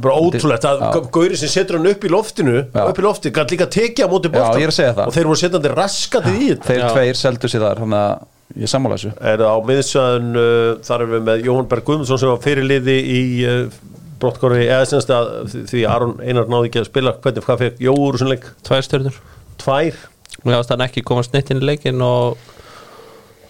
Speaker 1: bara ótrúlegt að
Speaker 3: Já.
Speaker 1: Gauri sem setur hann upp í loftinu upp í lofti, gæti líka tekið á móti
Speaker 3: Já,
Speaker 1: boltan
Speaker 3: ég er að segja það.
Speaker 1: og þeir voru setjandi raskandi í þetta
Speaker 3: þeir
Speaker 4: Já.
Speaker 3: tveir seldu sér þar þannig að ég sammála þessu
Speaker 1: er á miðsvæðun uh, þar erum við með Jóhann Berg Guðmundsson sem var fyrirliði í uh, brottkori eða semst að því- því Aron Einar náði ekki að spila hvernig hvað fekk Jóur sem leik
Speaker 4: Tvær stjörnur
Speaker 1: tvær
Speaker 4: Mér finnst hann ekki komast neitt inn í leikin og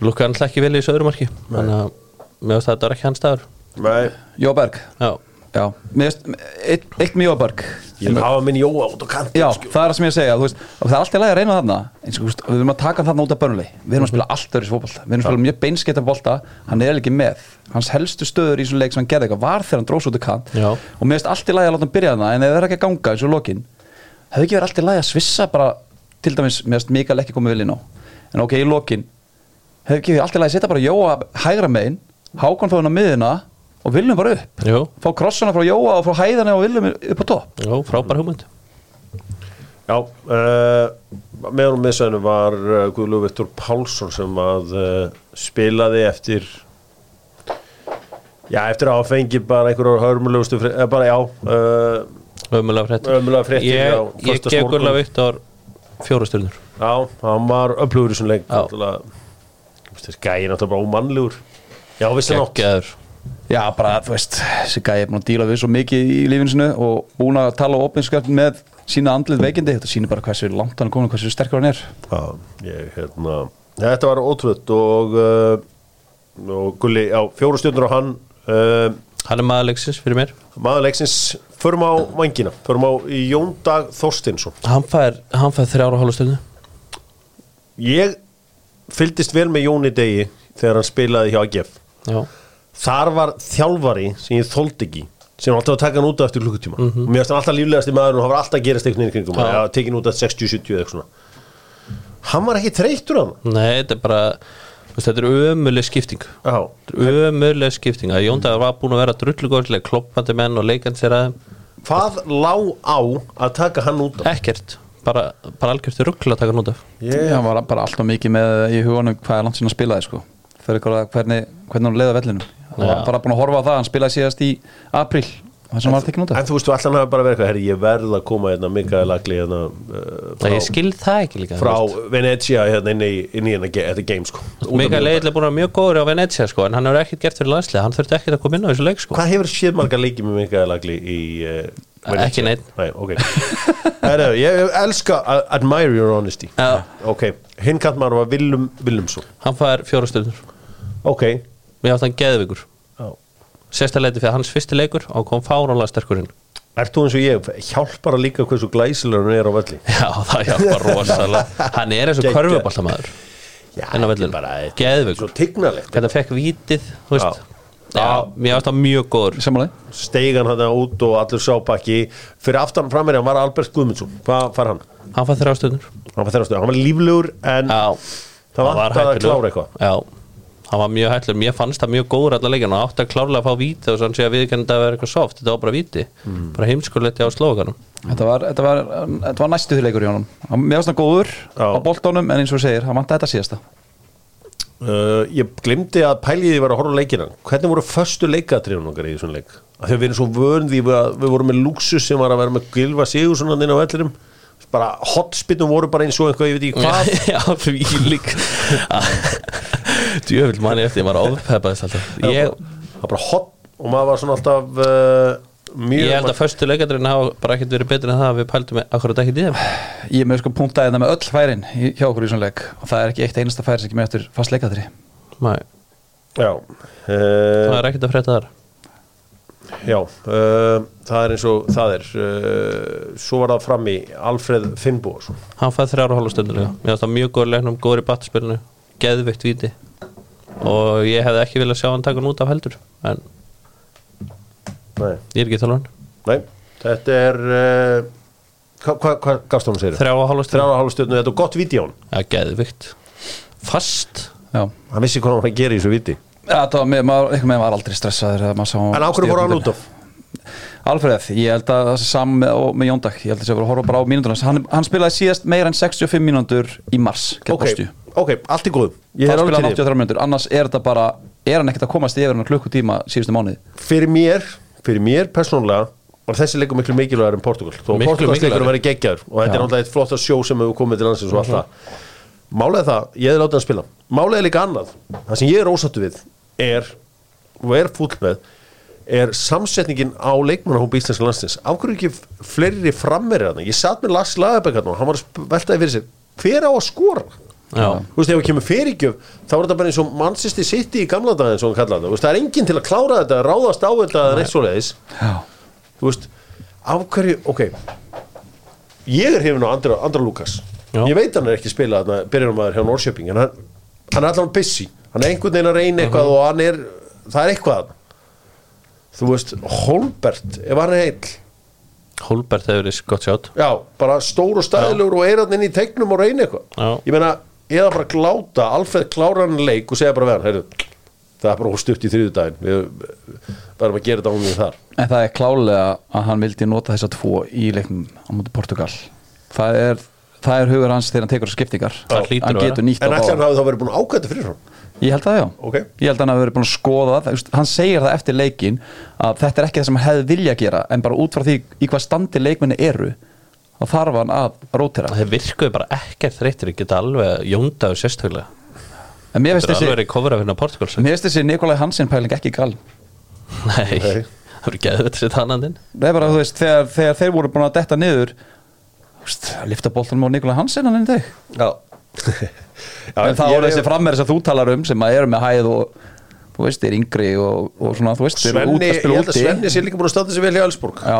Speaker 4: lukkaði hann ekki vel í þessu öðru marki þannig að mér finnst að þetta var ekki hans staður
Speaker 1: Nei.
Speaker 3: Jói Berg,
Speaker 4: Já,
Speaker 3: já Mér veist, eitt, eitt með Jói Berg
Speaker 1: ég vil hafa minn Jóa út á kant
Speaker 3: Já, það er það sem ég að segja, þú veist, og það er alltaf lægi að reyna þarna eins og þú veist, við erum að taka hann þarna út af börnulegi við erum að spila allt öðru fótbolta, við erum að spila mjög beinskeitt af bolta, hann er ekki með hans helstu stöður í svona leik sem hann gerði eitthvað var þegar hann drós út í kant
Speaker 4: Já.
Speaker 3: og mér veist alltaf lægi að láta hann byrja þarna en ef það er ekki að ganga eins og lokin hefði ekki verið alltaf lægi að svissa bara til dæmis, mér veist Mikael ekki komið vilja ná en ok, í lokin hefði ekki alltaf lægi að setja bara Jóa hægra megin Hákon fá hann á miðina og viljum bara upp
Speaker 4: jú,
Speaker 3: fá krossuna frá Jóa og frá hæðana og viljum upp á topp
Speaker 4: jú frábær hugmynd
Speaker 1: Já, uh, með honum miðsvæðinu var uh, Guðlú Vittur Pálsson sem að uh, spilaði eftir já, eftir að hafa fengið bara einhverjar hörmulegustu frétt, eða bara já uh,
Speaker 4: Ömulega fréttir
Speaker 1: Ömurlegar fréttir, já,
Speaker 4: Ég, ég
Speaker 1: föstudagsmorgun.
Speaker 4: gef Gulla Viktor fjóra stjörnur
Speaker 1: já, hann var upplöfur í svona leik
Speaker 4: Já.
Speaker 1: náttúrulega þessi gæði náttúrulega bara ómannlegur Já, vissi nátt
Speaker 4: Gekkjaður
Speaker 3: Já, bara, þú veist, þessi gæði er búin að díla við svo mikið í lífinu sinu og búin að tala opinskjöld með sína andlið veikindi, þetta sýnir bara hversu langt hann er komin, og hversu sterkur hann er.
Speaker 1: Já, ég, hérna Þetta var ótrútt og uh, og Gulli, já, fjóru stjórnur á hann uh,
Speaker 4: Hann er maður leiksins fyrir mér
Speaker 1: maður leiksins, förum á vangina förum á Jóndag Þorstinsson
Speaker 4: Hann fær, hann fær þrjára hálfa stjörnu
Speaker 1: Ég fylgdist vel með Jóni Degi þegar hann spilaði hjá AGF
Speaker 4: Já,
Speaker 1: Þar var þjálfari sem ég þóldi ekki sem var alltaf að taka hann út eftir klukkutíma og mér varst hann alltaf líflegasti maður og hann var alltaf að gerast einhvern veginn í kringum
Speaker 4: Mhm. Já.
Speaker 1: hann ja, tekin út eftir 60-70 eða eitthvað svona Hann var ekki treytur hann
Speaker 4: nei, þetta er bara þú veist, Þetta er ömuleg skipting
Speaker 1: Já,
Speaker 4: Ömuleg skipting að Jóndagur var búin að vera drullugóðslega kloppandi menn og leikandi sér aðeim
Speaker 1: hvað lá á að taka hann út af?
Speaker 4: Ekkert, bara, bara algjört ruggla að taka hann út af
Speaker 1: Ég,
Speaker 3: Hann var bara alltaf mikið með í huganum hvað er langt sinna spilaði, sko. Þegar fyrir hvað, hvernig, hvernig hann leiða vellinum og
Speaker 4: Já.
Speaker 3: var bara búin að horfa á það, hann spilaði síðast í april og þess að var tekinn út af
Speaker 1: En þú veist, allan hafa bara verið eitthvað, herri, ég verð að koma hérna Mikael Agli hérna uh,
Speaker 4: Það ég skil það ekki líka
Speaker 1: frá Venetia hérna inn í, inn í hérna, ge- þetta game sko Út af
Speaker 4: Mikael
Speaker 1: mjög-
Speaker 4: Egil er búin að vera mjög góður á Venetia sko, en hann hefur ekkert gert fyrir landslið hann þurfti ekkert að koma inn á þessu leik sko.
Speaker 1: Hvað hefur séð marga leiki með Mikael Agli í uh,
Speaker 4: Ekki neinn.
Speaker 1: Nei, ok Heru, Ég elska, I admire your honesty
Speaker 4: Já.
Speaker 1: Ok, hinn kallt maður var Willum Willumsson
Speaker 4: hann fær fjóra stundur
Speaker 1: Ok
Speaker 4: mér átt hann geðvigur
Speaker 1: Já.
Speaker 4: sérstæðleiti fyrir hans fyrsti leikur og hann kom fárónlega sterkurinn
Speaker 1: Ert þú eins og ég, hjálpar að líka hversu glæsilegur hann er á velli
Speaker 4: já það hjálpar rosalega hann er eins og
Speaker 1: Geggjað.
Speaker 4: körfuboltamæður
Speaker 1: Já,
Speaker 4: En á vellinum. Geðveikur.
Speaker 1: Svo tignalegt
Speaker 4: hvernig hann fekk vítið þú veist
Speaker 1: Já.
Speaker 4: já, mér átt hann mjög góður
Speaker 3: Samanlega,
Speaker 1: Steigan hann út og allur sápakki Fyrir aftan framir hann var Albert Guðmundsson Hvað fær hann?
Speaker 4: hann fær þrjá stundur
Speaker 1: Hann var, þrjástu, hann var líflegur en
Speaker 4: já
Speaker 1: það
Speaker 4: hann var
Speaker 1: vantaði að
Speaker 4: hættulegur.
Speaker 1: klára eitthvað
Speaker 4: já hann var mjög hættilegur mér fannst það mjög góður allar leikin og átti að klárlega að fá víti og svo hann sé að viðkennandi að vera eitthvað soft þetta var bara víti
Speaker 1: Mm.
Speaker 4: bara heimskuleiti á slókanum
Speaker 3: þetta var, þetta var, þetta var næstu þýrleikur í honum Hann- Mér varst hann góður
Speaker 1: Já.
Speaker 3: á boltónum en eins og þú segir, hann vant þetta síðasta
Speaker 1: uh, Ég glimti að pæliði var að horfa á leikina Hvernig voru föstu leikatriðun okkar í þessum leik? Af því að við erum svo vörn því að við vorum með luxus sem var að vera með Gylfa Sigursson hann inn á vellinum bara hotspinnum voru bara eins og eitthvað ég veit ekki hvað
Speaker 4: já, því lík djöfull manni eftir, ég var ofpeppaðist alltaf ég,
Speaker 1: það var bara hot og maður var svona alltaf uh, mjög
Speaker 4: ég held að föstu leikandurinn hafa bara ekkert verið betur en það að við pældum akkurat ekki dýðum
Speaker 3: Ég er með sko punktaði þetta með öll færin í- hjá okkur í svona leik og það er ekki eitt einasta færi sem kemur eftir fast leikadri
Speaker 4: það
Speaker 1: já, uh,
Speaker 4: er ekkert að frétta þar
Speaker 1: já uh, það er eins og það er uh, svo var það fram í Alfred Finnbóðsson
Speaker 4: hann fæði þrjára hálfa stundur líka mér fannst það mjög góður í leiknum, góður í batterspilinu geðveikt víti og ég hefði ekki viljað sjá hann taka hann út af heldur en
Speaker 1: nei,
Speaker 4: ég er ekki þjálfan
Speaker 1: nei, þetta er uh, hvað hva, hva gafst hún sér?
Speaker 4: þrjára hálfa stundur,
Speaker 1: þrjára hálf stjórnum, þetta er gott vídjón
Speaker 4: ja, geðveikt fast,
Speaker 3: Já,
Speaker 1: hann vissi hvað hann var að gera í þessu víti
Speaker 3: Ja, það var, með, maður, einhvern veginn var aldrei stressaður en
Speaker 1: en á hverju voru hann út af?
Speaker 3: Alfreð, ég held að það sé saman með, og- með Jóndak, ég held að það sé að horfa bara á mínútur hans hann, hann spilaði síðast meira en 65 mínútur í mars, gett
Speaker 1: ok,
Speaker 3: okay.
Speaker 1: ok, allt í góðum ég
Speaker 3: þá
Speaker 1: er
Speaker 3: spilaði hann
Speaker 1: alveg til því
Speaker 3: 83 mínútur, annars er þetta bara er hann ekkert að komast yfir hann klukkutíma síðustu mánuði
Speaker 1: fyrir mér, fyrir mér persónulega var þessi leikur miklu mikilvægur en Portugal þó
Speaker 4: Miklu
Speaker 1: Portugals leikur
Speaker 4: mikilvægari. Mhm.
Speaker 1: verið geggjaður og þetta er
Speaker 3: Já.
Speaker 1: náttúrulega eitt flotta sjó sem hefur komið til landsins og allt það Málið er það, ég hefði látið að spila Málið er líka annað, það sem ég er ósattu við er, og er fúll með er samsetningin á leikmannahópa íslenska landsins af hverju ekki f- fleiri frammerir hann ég satt með Lars Lagerberg hérna hann hann var að sp- veltaði fyrir sér, hver á að skora
Speaker 4: já,
Speaker 1: þú veist, ef við kemur fyrirgjöf þá er þetta bara eins og Manchester City í gamla daginn eins og hann kallaði það, Þú veist, það er enginn til að klára þetta ráðast á þetta eða neitt svoleiðis
Speaker 3: Já.
Speaker 1: þú veist, af hverju ok, ég er hefinn á Andra, Andra Lukas,
Speaker 4: Já.
Speaker 1: ég veit hann er ekki að spila þarna, byrjunum aður hjá Norrköping en hann, hann er allan busy, hann er einhvern veginn að reyna eitthvað og hann er, það er eitthvað þarna. þú veist, Holbert ef hann er heill,
Speaker 4: Holbert hefur verið gott sjátt
Speaker 1: já, bara stór og stæðilegur og er hann inn í tegnum og reyna eitthvað
Speaker 4: Já.
Speaker 1: ég meina, eða bara gláta Alfred klára hann leik og segja bara verðan heyrðu, það er bara of stutt í þriðudaginn við verðum að gera þetta ánum þar
Speaker 3: en það er klálega að hann vildi nota þessa tvo í leiknum á múti Portugal það er, það er hugur hans þegar hann tekur skiptingar
Speaker 4: Það hlýtur
Speaker 3: hann
Speaker 4: að vera.
Speaker 3: getur nýtt
Speaker 1: en ætli
Speaker 3: á báða
Speaker 1: hann hafi þá verið búin að ákvæta fyrir hann
Speaker 3: Ég held það já,
Speaker 1: Ok.
Speaker 3: ég held að hann hafi verið búin að skoða það, Þú veist, hann segir það eftir leikin að þetta er ekki það sem hann hefði vilja gera en bara út frá því í hvað standi leikminni eru þá þarf hann að rótera
Speaker 4: þeir virkuðu bara ekkert þreyttir ég geta alveg jóndaðu sérstökulega
Speaker 3: en mér
Speaker 4: það
Speaker 3: finnst
Speaker 4: er alveg
Speaker 3: þessi,
Speaker 4: verið kofur af hérna Portugals
Speaker 3: mér finnst þessi Nikolai Hansen pæling ekki gal
Speaker 4: nei,
Speaker 1: Nei.
Speaker 4: það verið geðveikt sér tannandinn
Speaker 3: það er bara þú veist, þegar, þegar þeir voru búin að detta niður þú veist, lifta boltanum á Nikolai Hansen hann inn í þig
Speaker 1: já
Speaker 3: en það
Speaker 1: ég
Speaker 3: voru
Speaker 1: er-
Speaker 3: þessi frammeir sem þú talar um sem að eru með hæð og þú veist, þeir yngri og, og svona, þú veist, þeir eru út
Speaker 1: Svenni,
Speaker 3: að
Speaker 1: ég
Speaker 3: spila
Speaker 1: held að Svenni
Speaker 3: úti
Speaker 1: sé líka búin að standa sér vel í Ælsborg
Speaker 3: Já,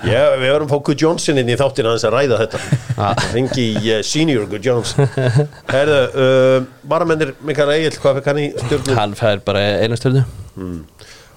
Speaker 1: Já, við verðum að fá Guð Jónsson inn í þáttin aðeins að ræða þetta Hengi uh, senior Guð Jónsson Herðu, uh, varamennir Mikael Egil, hvað fekk hann í stjórnur?
Speaker 4: hann fær bara einu stjórnu,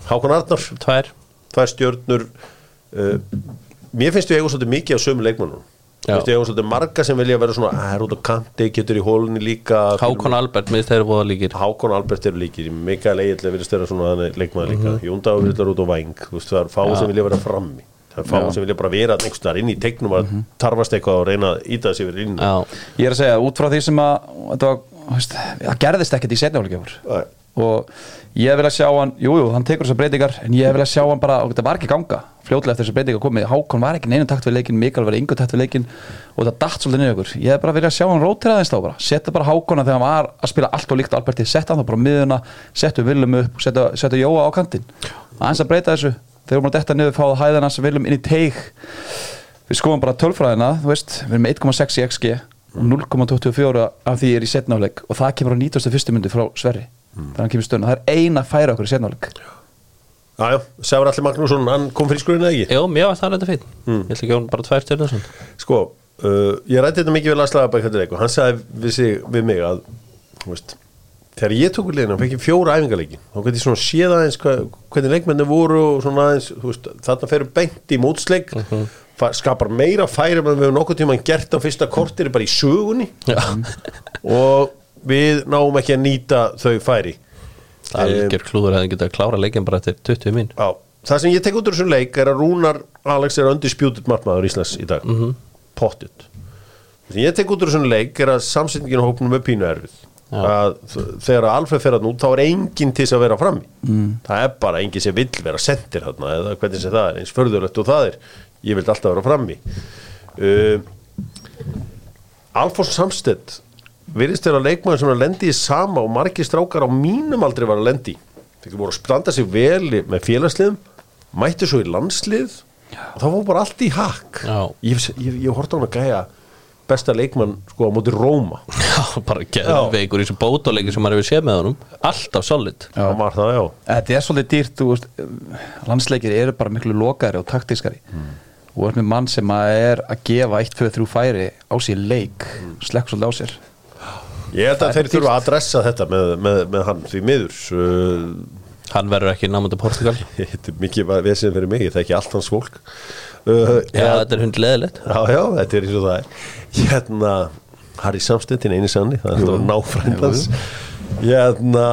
Speaker 1: Hákon Arnar,
Speaker 4: tvær
Speaker 1: tvær stjórnur uh, mér finnst við eigum svolítið mikið af sömu leikmannum
Speaker 4: Já.
Speaker 1: Mér finnst við eigum svolítið marga sem vilja vera svona "Æ, er út á kanti, getur í hólunni líka
Speaker 4: Hákon Albert með þeirra voða líkir
Speaker 1: Hákon Albert eru líkir, Mikael Egil er verið störa svona þannig leikmann líka,
Speaker 4: Mhm.
Speaker 1: mm -hmm. Jóndagur verið störa út á væng þú veist, það er fáið sem vilja vera frammi það er fáið sem vilja bara vera einhvers staðar inn í teiknum að tarfast eitthvað og reyna að íta þessi verið inn
Speaker 4: Mhm. Já,
Speaker 3: ég er að segja, út frá því sem að þetta var þú veist, það gerðist ekkert í setni hálfleikur
Speaker 1: Nei.
Speaker 3: og ég vil að sjá hann jújú, jú, hann tekur þessar breytingar en ég vil að sjá hann bara, og þetta var ekki að ganga fljótlega eftir þessar breytingar komið, Hákon var ekki í neinum takt við leikin Mikael var í yngur takt við leikin og það datt svolítið niður ykkur, ég er bara að vilja að sjá hann rótera aðeins þá bara, setja bara Hákona þegar hann var að spila allt og líkt á Alberti, setja hann þá bara á miðuna setja Willum upp, setja, setja Jóa á kantinn aðeins að breyta þessu þegar hún var detta niður fáðu hæðina sem Willum inn í teig við skoðum bara tölfræðina þú veist, við erum með 1,6 í XG og 0,24 af því er í setnáleik og það kemur á 91. myndu frá Sverri þannig hann kemur stöðun og það er eina færa okkur í setnáleik
Speaker 1: Jájá, Sævar Alli Magnússon, hann kom fyrir skurinn eða ekki
Speaker 4: Jó, mér var það reynda fín Ég ætla ekki hún bara tvær stjörnur svona
Speaker 1: Sko, uh, ég rætti þetta mikið við Lars Lagerbæk hættir leik og hann sagði við, sig, við mig að þú veist, þegar ég tók við leikina fekk ég fjóra æfingarleiki þá gæti ég svona séð aðeins hva, hvernig leikmenni voru og svona aðeins þú veist, þarna ferur beint í mótsleik uh skapar meira færi en við höfum nokkuð tíma gert á fyrsta kortir bara í sögunni og við náum ekki að nýta þau færi
Speaker 4: Algjör klúður hefði getað að klára leikin bara eftir 20 mín
Speaker 1: Já, það sem ég tek út úr þessum leik er að Rúnar Alex er undisputed markmaður Íslands í dag, mm -hmm. pottut það sem ég tek út úr þessum leik er að samsetningin á hópnum er pínu erfið að þ- þegar Alfred fer að nú þá er enginn til þess að vera frammi mm. það er bara enginn sem vill vera sendir þarna eða hvernig sem það er, eins förðurlegt og það er ég vill alltaf vera frammi uh, Alfons Samstedt virðist þeirra leikmaður sem er að lendi í sama og margir strákar á mínum aldrei var að lendi þegar voru að standa sig vel í- með félagsliðum mættu svo í landslið og það var bara allt í hakk
Speaker 4: Já.
Speaker 1: ég, ég, ég horfði á hann að gæja besta leikmann sko á móti Róma
Speaker 4: Já, bara geðveikur í þessu bótoleikin sem maður hefur séð með honum Alltaf solid
Speaker 1: hann var það já
Speaker 3: þetta er svolítið dýrt þú veist, landsleikir eru bara miklu lokaðri og taktískari og þú ert með mann sem að er að gefa 1, 2, 3 færi á sér leik slekk svolítið á sér
Speaker 1: Ég held að þeir þurfa að adressa þetta með, með, með hann því miður eh, uh,
Speaker 4: Hann verður ekki námönda Portugal Já,
Speaker 1: Þetta er mikið bara vesinn fyrir mig, það er ekki allt hans fólk uh, já,
Speaker 4: þetta er hundleðilegt
Speaker 1: já, já, þetta er eins og það er Hérna, Harry Samstendin eini sanni, það er alltaf náfrændans Hérna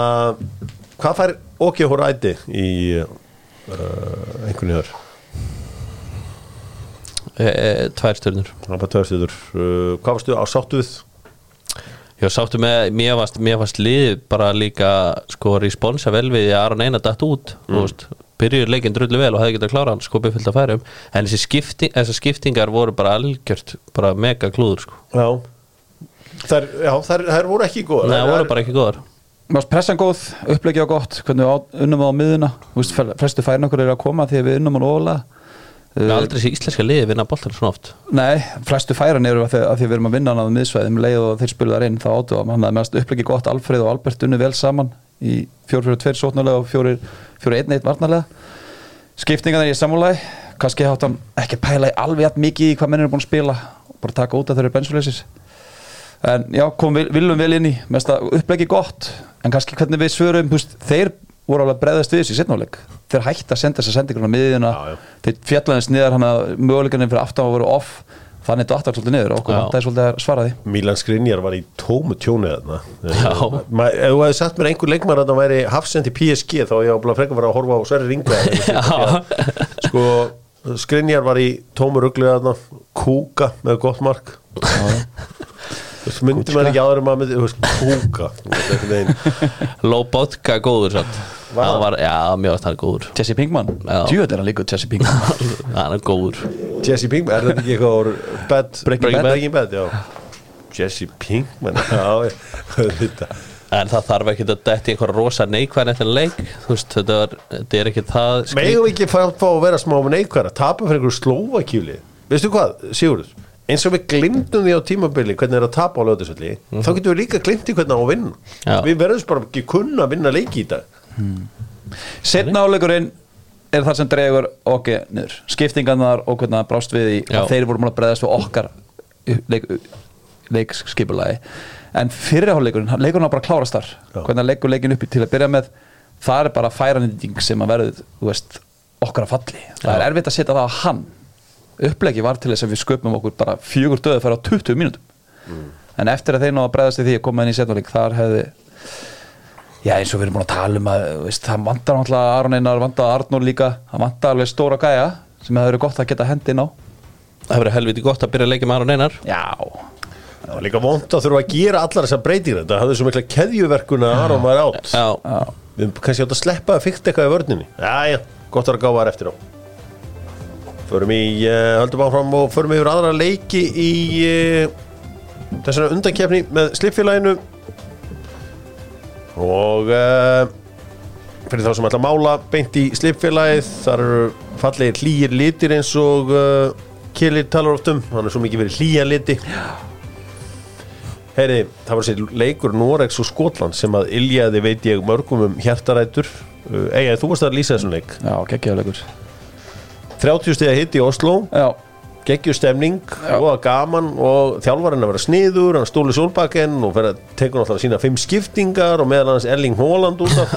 Speaker 1: Hvað fær Óki Horæti í uh, einhvern veginn
Speaker 4: e, e, Tvær stjörnur
Speaker 1: Það er bara tveirstuður uh, Hvað varstu á sáttuð?
Speaker 4: Já, sáttu með, mér varst, mér varst lið bara líka sko responsa vel við því að Aron Einar datt út mm. veist, byrjuður leikinn drullu vel og hefði getað klárað hann skopið fyllt að færum en þessi skipting, þessar skiptingar voru bara algjört bara mega klúður sko
Speaker 1: Já Þær, já, þær, þær voru ekki góð
Speaker 4: Nei, það voru bara ekki góðar
Speaker 3: Mér varst pressan góð, upplegið á gott hvernig við á- unnum við á miðuna Þú veist, flestu færin okkur eru að koma því að við unnum Eh, hann ólega
Speaker 4: uh. Aldrei sé íslenska liði vinna boltan svona oft
Speaker 3: Nei, flestu færan eru að því, að því við erum að vinna hann að miðsvæðum um leið og þeir spilu þar inn þá áttu að manna meðast upplegi gott Alfreð og Albert unnu vel saman í 4-4-2 sótnulega og 4-1-1 varnarlega skiptingan er í samúlæði kannski hátt hann ekki að pæla í alveg jafn mikið í hvað menn eru búin að spila og bara taka út að þeir eru bensuleysir en já, kom vil, viljum vel inn í mest að upplegi gott en kannski hvernig við svörum, húst, þeir voru alveg að breyðast við þessi setnáleik þeir hætti að senda þess að senda ykkur á miðjuna
Speaker 1: Já, já.
Speaker 3: þeir fjallaðist niður hann að möguleikarnir fyrir aftan að voru off þannig þetta aftar svolítið niður og okkur
Speaker 4: Já.
Speaker 3: vantaði svolítið að svara því
Speaker 1: Milan Skrinjar var í tómu tjónu þarna
Speaker 4: Já.
Speaker 1: Eh, ma- Ef þú hefði sagt mér einhver leikmar að það væri hafsend í PSG þá ég var bara frekar að fara að horfa á Sverri Ringveð Sko, Skrinjar var í tómu rugglu þarna Kúka með gott mark Þú myndi maður ekki áður um að myndi, þú veist, kúka Þú veist, einhvern veginn.
Speaker 4: Lóbotka góður satt
Speaker 1: Var
Speaker 4: Hann
Speaker 1: hann?
Speaker 4: var, Já, mér varst hann góður
Speaker 3: Jesse Pinkman,
Speaker 4: Já.
Speaker 3: djúið er hann líka Jesse Pinkman
Speaker 4: Hann er góður
Speaker 1: Jesse Pinkman, er þetta ekki eitthvað úr bad,
Speaker 4: Breaking Bad.
Speaker 1: Breaking Bad, já Jesse Pinkman, já, þetta
Speaker 4: En það þarf ekki að detti einhver rosa neikvæðan eftir leik Þú veist, þetta, var, þetta er ekki það skrýt-
Speaker 1: Megum við ekki fá, fá að vera smá með neikværa Tapa fyrir einhverju slóvakjúli Veistu hvað, Sigurður eins og við glimtum því á tímabili hvernig er að tapa á löðisvelli þá getum við líka glimt í hvernig á að vinna
Speaker 4: Mhm. Já.
Speaker 1: við verðum bara ekki kunna að vinna leiki í dag
Speaker 3: setnáleikurinn er það sem dregur okkur niður skiptingarnar og hvernig það brást við í
Speaker 4: Já.
Speaker 3: að þeir voru múin að breyðast við okkar leik, leikskipulagi en fyrirháleikurinn, leikurinn á bara að klárast þar
Speaker 1: Já.
Speaker 3: hvernig hann leikur leikin upp í til að byrja með það er bara færanýting sem að verður þú veist, okkar að falli það er erfitt að setja það á hann upplegi var til þess að við sköpum okkur bara fjögur döðu færa á 20 mínútum en eftir að þeir ná að breyðast við því að koma inn í setnáleik þar hefði Já, eins og við erum búin að tala um að þú veist, það vantar náttúrulega Aron Einar, vantar Arnur líka það vantar alveg stóra gæja sem það verið gott að geta hendi inn á
Speaker 4: Það verður helviti gott að byrja að leikja með Aron Einar
Speaker 3: Já,
Speaker 1: Það var líka vond að þurfa að gera allar þessar breytingar Þetta hafði svo mikla keðjuverkun að Aron var átt
Speaker 4: Já,
Speaker 1: Við kannski átt að sleppa að fykta eitthvað í vörninni Jæja, gott að vera gáðar eftir á Förum í, uh, höldum áfram og förum yfir aðra leiki í uh, þessari undankefni með slipfélaginu og uh, fyrir þá sem ætla að mála beint í slipfélagið þar eru fallegir hlýir litir eins og uh, Kilir talar oft um hann er svo mikið verið hlýja liti Heyri, það var sér leikur Noregs og Skotland sem að iljaði veit ég mörgum um hjartarætur uh, Eyja, þú varst að lýsa þessum leik
Speaker 3: Já, geggjöðleikur
Speaker 1: 30 stiga hitt í Oslo
Speaker 3: Já,
Speaker 1: geggjur stemning og gaman og þjálfarinn að vera sniður, hann stóli sólbakken og fer að tekur náttúrulega sína fimm skiptingar og meðal hans Erling Haaland út af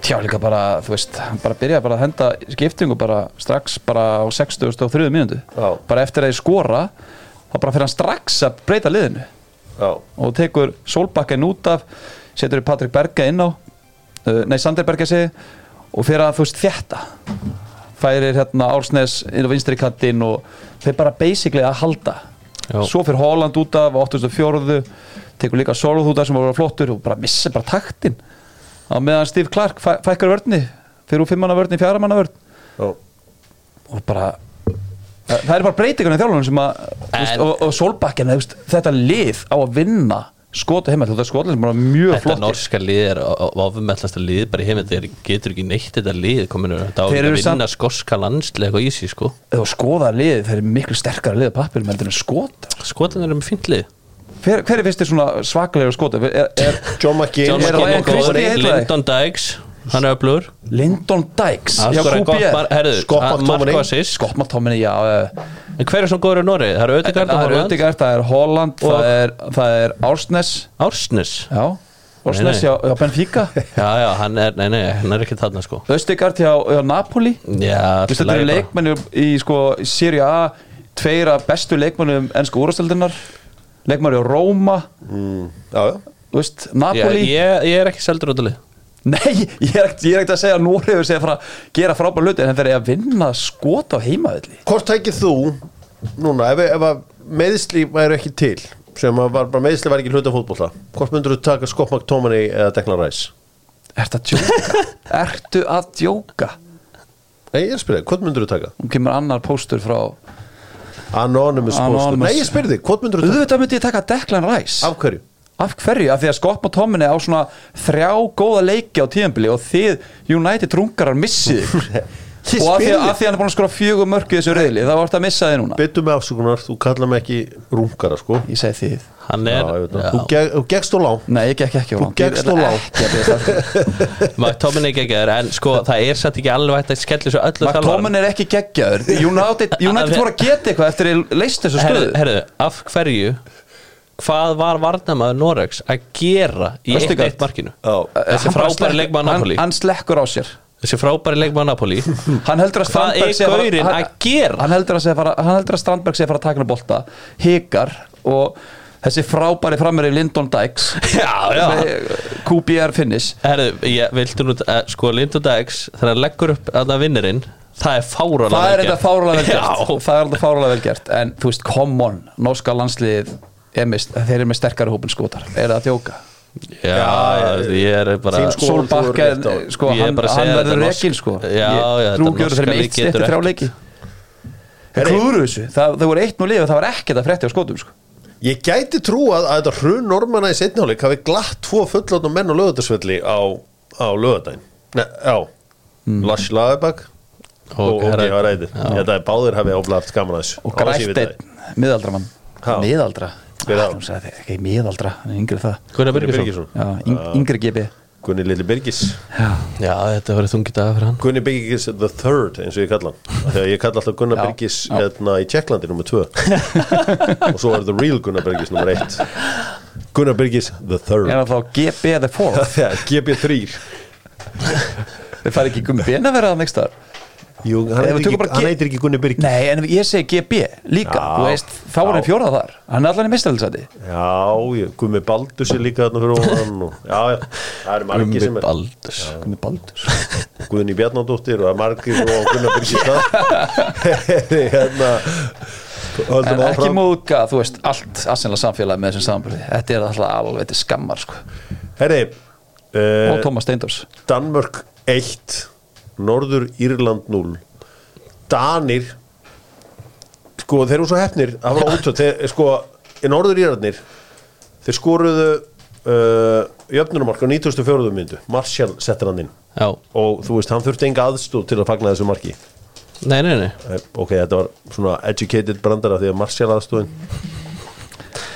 Speaker 3: tjá líka bara, þú veist hann bara byrjaði bara að henda skiptingu bara strax bara á 63. mínútu
Speaker 1: Já.
Speaker 3: bara eftir að ég skora þá bara fyrir hann strax að breyta liðinu
Speaker 1: Já,
Speaker 3: og tekur Solbakken út af setur Patrik Berge inn á uh, nei, Sander Berge segi og fyrir að þú veist þetta færir hérna Ársnes inn á vinstri kattinn og þeir bara basically að halda
Speaker 4: Já.
Speaker 3: svo fyrir Holland út af 804 tekur líka Soluð út af sem var flottur og bara missa bara taktin á meðan Steve Clark fæ, fækkar vörni fyrir úr fimmanna vörni, fjara manna vörn
Speaker 1: já,
Speaker 3: og bara það er bara breytingunni í þjálfunum sem að þú veist,
Speaker 4: En-
Speaker 3: og, og sólbakkina, þú veist, þetta lið á að vinna skota heima þú veist, skotin sem bara mjög
Speaker 4: þetta
Speaker 3: flott
Speaker 4: norska lið er ofumellasta lið bara heim, þeir getur ekki neitt þetta lið kominu, þetta á
Speaker 3: Þeir
Speaker 4: ekki
Speaker 3: eru
Speaker 4: að vinna
Speaker 3: samt-
Speaker 4: samt... skorska landslega og ísi sko
Speaker 3: eða skoða lið, þeir eru miklu sterkara lið pappir með þetta skota
Speaker 4: Skotan eru með fínt lið
Speaker 3: hver, hver er fyrst þér svona svakalegur skota er, er
Speaker 1: John McGinn
Speaker 4: John
Speaker 3: Er
Speaker 4: McKinnon
Speaker 3: Ryan
Speaker 4: góður,
Speaker 3: Christie heillaði?
Speaker 4: Lyndon Dykes hann er öflugur
Speaker 3: Lyndon Dykes
Speaker 4: Hann
Speaker 3: já,
Speaker 4: skoraði gott mar-
Speaker 3: QPR
Speaker 4: herðu,
Speaker 1: Scott
Speaker 4: hann-
Speaker 1: McTominay.
Speaker 4: Marko Assis
Speaker 3: Scott McTominay, já eh,
Speaker 4: en hver er svona góður í Nóri? það eru Ödegard
Speaker 3: það er Ödegard, það er Holland
Speaker 4: Og-
Speaker 3: það er, það er Ársnes
Speaker 4: Ársnes
Speaker 3: já, Ársnes
Speaker 4: nei.
Speaker 3: hjá, hjá Benfica
Speaker 4: já, já, hann er, nei, nei, hann er ekki þarna sko
Speaker 3: Östegard hjá, hjá Napoli
Speaker 4: já,
Speaker 3: Þú veist, þetta eru leikmennir í sko Serie A, tveira bestu leikmennum ennsku úrastöldinnar leikmennir á Róma,
Speaker 1: Mm, já, já.
Speaker 3: þú veist,
Speaker 4: Já,
Speaker 3: Napoli
Speaker 4: ég, ég er ekki seldur út af lið
Speaker 3: Nei, ég er ekkert ég er ekkert að segja að Nóri hefur segja frá að gera frábæð hluti en þeir eru að vinna skot á heimaðli
Speaker 1: Hvort tækið þú núna, ef, ef að meðsli væri ekki til sem að var, bara meðsli væri ekki hluta fótbolta hvort myndur þú taka Scott McTominay eða Declan Rice?
Speaker 3: Ertu að djóka? Ertu að djóka?
Speaker 1: Nei, ég spyrir, hvort myndur þú taka?
Speaker 3: Nú kemur annar póstur frá
Speaker 1: Anonymous, Anonymous.
Speaker 3: Anonymous.
Speaker 1: Nei, ég spyrir þig, hvort myndur þú taka?
Speaker 3: Auðvitað myndi ég taka Declan Rice
Speaker 1: Af hverju?
Speaker 3: Af hverju? Af því að Scott og Tomini á svona þrjá góða leiki á tíðanbili og þið United rungarar missið ykkur.
Speaker 1: Ég
Speaker 3: og af því,
Speaker 1: spyr
Speaker 3: að
Speaker 1: þig.
Speaker 3: því hann er búin að skora fjögur mörg í þessu reyðli þá vart að missa þið núna
Speaker 1: Byttu mig afsökunar, þú kallar mig ekki rungara sko
Speaker 3: ég segi þið
Speaker 4: hann
Speaker 1: Já,
Speaker 4: er,
Speaker 1: ég veit það. Þú geg- Þú geggst og láng
Speaker 3: nei, ég gekk ekki á
Speaker 1: Þú
Speaker 3: langt
Speaker 1: gekkst of langt.
Speaker 4: McTomin er ekki en sko, það er satt ekki alveg hægt að skella svo öllu
Speaker 3: McTomin er ekki geggjaður United, United voru að geta eitthvað eftir að leist þessu
Speaker 4: herðu,
Speaker 3: stöðu
Speaker 4: herðu, af hverju hvað var varnamaður Noregs að gera í eitt
Speaker 3: Östegard.
Speaker 4: eitt markinu
Speaker 1: Já.
Speaker 4: þessi
Speaker 3: Hann bara
Speaker 4: frábæri
Speaker 3: slekk-
Speaker 4: leikmaður
Speaker 3: hann-
Speaker 4: Napoli
Speaker 3: hann slekkur á sér
Speaker 4: þessi frábæri leikmaður Napoli
Speaker 3: hann heldur að
Speaker 4: Hvað
Speaker 3: Strandberg
Speaker 4: er
Speaker 3: sé að fara-
Speaker 4: gaurinn
Speaker 3: hann-
Speaker 4: að gera?
Speaker 3: hann heldur að, sé að fara- hann heldur að Strandberg sé að fara að taka hann bolta hikar og þessi frábæri framöri Lyndon Dykes
Speaker 4: já, já
Speaker 3: með QBR finish
Speaker 4: Herðu, ég viltu nú, eh, sko Lindu Dags þegar hann leggur upp að vinnirinn það er fáralega
Speaker 3: það er þetta fárulega vel
Speaker 4: Já.
Speaker 3: gert það er þetta fárulega vel gert en þú veist, come on, norska landslið er með, þeir eru með sterkari hópin skotar er það að þjóka
Speaker 4: Já, já, ég er bara
Speaker 1: Þín Sko, þú
Speaker 3: Solbakka,
Speaker 1: er rétt á.
Speaker 3: sko,
Speaker 4: Ég er
Speaker 3: hann,
Speaker 4: bara að segja
Speaker 3: hann
Speaker 4: þetta
Speaker 3: verður
Speaker 4: norsk-
Speaker 3: rekin sko
Speaker 4: Já, já, þetta
Speaker 3: trúgjörður
Speaker 4: norska
Speaker 3: þeir með
Speaker 4: lið
Speaker 3: eitt
Speaker 4: getur
Speaker 3: stætti þrjá
Speaker 4: ekki.
Speaker 3: leiki klúru þessu, það, það voru eitt nú lið og það var ekkert að frétti á skotum sko
Speaker 1: Ég gæti trúað að þetta hrun normanna í setnáleik hafi glatt tvo fullotnum menn á lögutarsvelli á, á lögutæn Nei, á
Speaker 3: Mm.
Speaker 1: Lars Lagerbakk og
Speaker 4: herra-
Speaker 1: Ógi Haræði Þetta er báðir hafi ofla haft gaman að þessu
Speaker 3: og grætt einn, miðaldra mann
Speaker 1: Já.
Speaker 3: miðaldra, Ah,
Speaker 1: Hver er það?
Speaker 3: Hún sagði, ekki miðaldra hann er yngri en það
Speaker 4: Gunnar
Speaker 1: Gunni
Speaker 4: Birgisson
Speaker 1: Birgisson
Speaker 3: já, yng,
Speaker 4: Ah.
Speaker 3: yngri GB
Speaker 1: Gunni Lilli Birgis
Speaker 3: já,
Speaker 4: Já, þetta verður þungi dag fyrir hann
Speaker 1: Gunni Birgis the third eins og ég kalla hann Af því að ég kalla alltaf Gunnar
Speaker 3: Já,
Speaker 1: Birgis
Speaker 3: já.
Speaker 1: hérna í Tjekklandi nummer 2 og svo er the real Gunnar Birgis nummer 1 Gunnar Birgis the
Speaker 3: er
Speaker 1: third
Speaker 3: það þá GB the fourth
Speaker 1: Þegar GB3
Speaker 3: Við færi ekki Gummi Ben að vera það neikst þar
Speaker 1: Jú, hann
Speaker 3: Ef við
Speaker 1: heitir
Speaker 3: tökum
Speaker 1: ekki,
Speaker 3: bara
Speaker 1: hann
Speaker 3: G-
Speaker 1: heitir ekki Gunni Birgis
Speaker 3: Nei, en ég segi GB líka
Speaker 1: Já.
Speaker 3: Þú veist, þá er hann
Speaker 1: Já.
Speaker 3: fjórað þar Hann er allan í mistalsæti
Speaker 1: Já, ég, Gumi Baldur sér líka þarna fyrir ofan og, Já, já, það eru margir sem
Speaker 4: Gummi
Speaker 1: er
Speaker 4: Baldurs
Speaker 3: Gummi Baldur
Speaker 1: Guðni Bjarnadóttir og það er margir og Gunnar Birgis það hérna, Höldum
Speaker 3: en ekki
Speaker 1: áfram.
Speaker 3: móðga, þú veist, allt assenlega samfélagi með þessum samanbyrði, þetta er alltaf alveg til skammar sko,
Speaker 1: Herri
Speaker 3: og
Speaker 1: uh,
Speaker 3: Thomas Steindors
Speaker 1: Danmörk 1 Norður Írland 0 Danir sko þeir eru svo hefnir það var ótrúð, þeir, sko í Norður Írlandnir þeir skoruðu uh, jöfnumark á 94. myndu Marshall settir hann inn
Speaker 4: Já,
Speaker 1: og þú veist hann þurfti enga aðstóð til að fagna þessu marki
Speaker 4: nei, nei, nei
Speaker 1: Eh, ok, þetta var svona educated brandara því að Marshall aðstóðin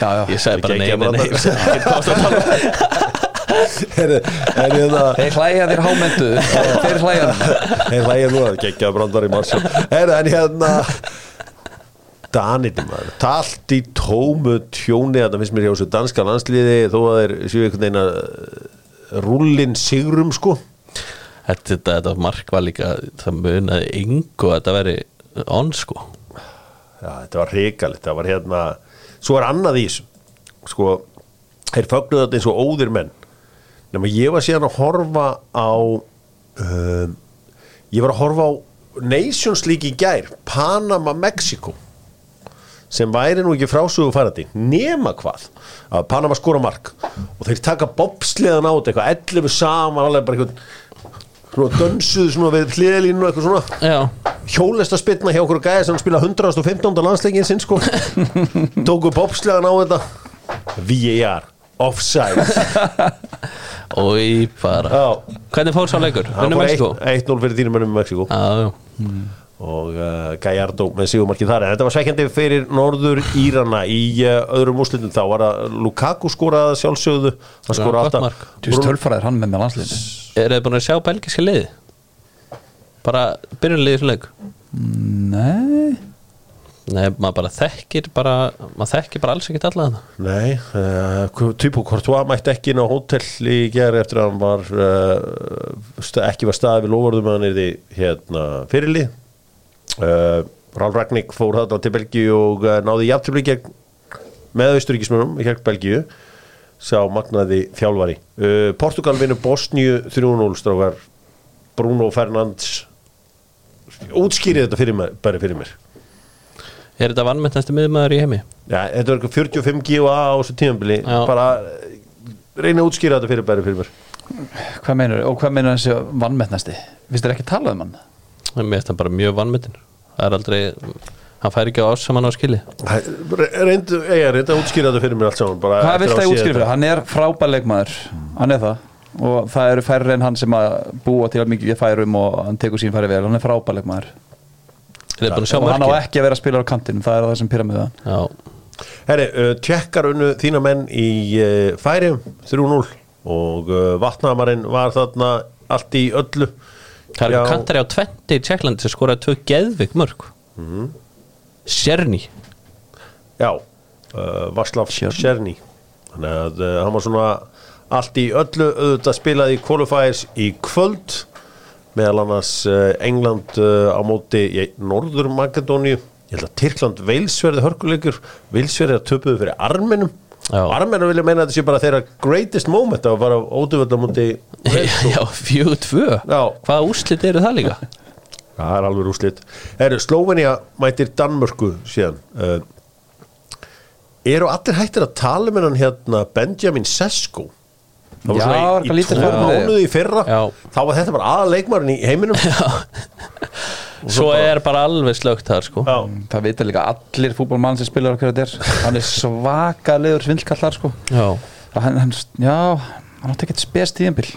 Speaker 3: já, já.
Speaker 4: Ég sagði bara nei,
Speaker 1: Gekkja
Speaker 4: nei, nei,
Speaker 1: brandari.
Speaker 4: nei.
Speaker 1: er, er hérna- ég það
Speaker 3: þeir hlæja þér hámendu þeir hlæja
Speaker 1: Þeir hlægja nú að gegja brandar í marsjál Herra, en hérna Danir, maður Talt í tómu tjóni Þetta finnst mér hjá þessu danska landsliði Þó að þeir séu einhvern veginn að Rúllin sigrum, sko
Speaker 4: Þetta, þetta, þetta mark var líka það munaði yngu að þetta veri on sko
Speaker 1: Já, þetta var hrikalegt, það var hérna Svo er annað í þessu Sko, þeir fögnuðu þetta eins og óðir menn Nefnum ég var síðan að horfa á um, Ég var að horfa á Nations League í gær Panama, Mexiko sem væri nú ekki frásögu farandi nema hvað að Panama skora mark og þeir taka bobsleðan át eitthvað 11 saman alveg bara eitthvað svona dönsuðu svona við hliðalínu og eitthvað svona
Speaker 4: Já,
Speaker 1: hjólesta spilna hjá okkur gæði sem spila 115. landsleikin sinn sko tóku bobslegan á þetta VAR, offside
Speaker 4: og í bara
Speaker 1: Já.
Speaker 4: Hvernig fór sá leikur?
Speaker 1: Það
Speaker 4: Vinnum
Speaker 1: fór
Speaker 4: Mexiko?
Speaker 1: 1-0 fyrir dýnum mönnum í Mexiko
Speaker 4: Já, já,
Speaker 1: og uh, Gallardo með sigumarkið þar en þetta var svekkjandi fyrir norður Írana í uh, öðrum úslitum þá var að Lukaku skoraði að sjálfsögðu hann
Speaker 4: Já,
Speaker 1: skoraði
Speaker 4: gott
Speaker 1: alltaf
Speaker 4: mark.
Speaker 3: þú veist, tölfaraðir hann með með landsliðinu
Speaker 4: eru þið búin að sjá belgiska liði? Bara byrjunliði svona leik
Speaker 3: nei,
Speaker 4: Nei, maður bara þekkir bara, maður þekkir bara alls ekkert alla þetta
Speaker 1: Nei, uh, Typo Courtois mætti ekki inn á hótel í gerð eftir að hann var uh, sta- ekki var staðið við lofurðum að hann er því hérna fyrirli uh, Ralf Ragník fór þarna til Belgíu og uh, náði jafntöfli gegn með austuríkismunum gegn Belgíu sá magnaði þjálfari uh, Portugal vinnur Bosníu 3-0 strákar Bruno Fernandes útskýrið þetta fyrir mér, bara fyrir mér
Speaker 4: Er þetta vannmenntastu miðmaður í heimi?
Speaker 1: Já, þetta var eitthvað 45 GA á þessu tíðanbili
Speaker 4: Já.
Speaker 1: bara eh, reyna að útskýra þetta fyrir bæri fyrir mér
Speaker 3: hvað meinar og hvað meinar þessi vannmettnasti finnst þér ekki talað um hann?
Speaker 4: Mér finnst það bara mjög vannmettin Það er aldrei, hann fær ekki á ás sem hann á skili
Speaker 1: Re- reyndu, ég er reynda að útskýra þetta fyrir mér allt saman bara
Speaker 3: Hvað
Speaker 1: eftir að
Speaker 3: vilt
Speaker 1: hafa
Speaker 3: það
Speaker 1: séð
Speaker 3: útskrifa?
Speaker 1: þetta.
Speaker 3: Hann er frábær leikmaður Hann er það Og það eru færri en hann sem að búa til að mikið færum og hann tekur sín færi vel Hann er frábær leikmaður
Speaker 4: Er þið búin að sjá
Speaker 3: Og hann á
Speaker 4: mörkin?
Speaker 3: ekki að vera að spila á kantinum Það er það sem pyramida
Speaker 4: Já,
Speaker 1: Herri, uh, tjekkar unnu þína menn í uh, færi 3-0 og uh, vatnamarinn var þarna allt í öllu Já.
Speaker 4: það eru kantari á 20 í Tjekklandi sem skoraði tvö geðvik mörg mm Sjerni
Speaker 1: Já, uh, Vaslav Sjerni Þannig að uh, hann var svona allt í öllu auðvitað spilaði í qualifiers í kvöld meðal annars uh, England uh, á móti í Norður Makedóníu ég held að Tyrkland Veilsverði hörkuleikur Veilsverði að töpuðu fyrir Armenum
Speaker 4: Já.
Speaker 1: Armenum vilja meina að þetta sé bara þeirra greatest moment að fara óduvölda móti Wales.
Speaker 4: Já, fjögur tvö
Speaker 1: Já.
Speaker 4: Hvaða úrslit eru það líka?
Speaker 1: Það er alveg rúslit Eru, Slóvenia mætir Danmörku síðan uh, Eru allir hættir að tala með hann hérna Benjamin Sesko Það var
Speaker 3: Já, var
Speaker 1: svona
Speaker 3: eitthvað
Speaker 1: í, í
Speaker 3: lítið
Speaker 1: tvo
Speaker 3: fyrir það.
Speaker 1: mánuði í fyrra
Speaker 4: Já.
Speaker 1: Þá var þetta bara aða leikmarin í heiminum Já,
Speaker 4: Svo er bara alveg slögt þar sko
Speaker 3: Það vita líka allir fútbolmann sem spilar á hverju þetta er Hann er svakalegur svindkallar sko
Speaker 4: Já,
Speaker 3: hann, hann, Já, hann átti ekkert spes tíðinbill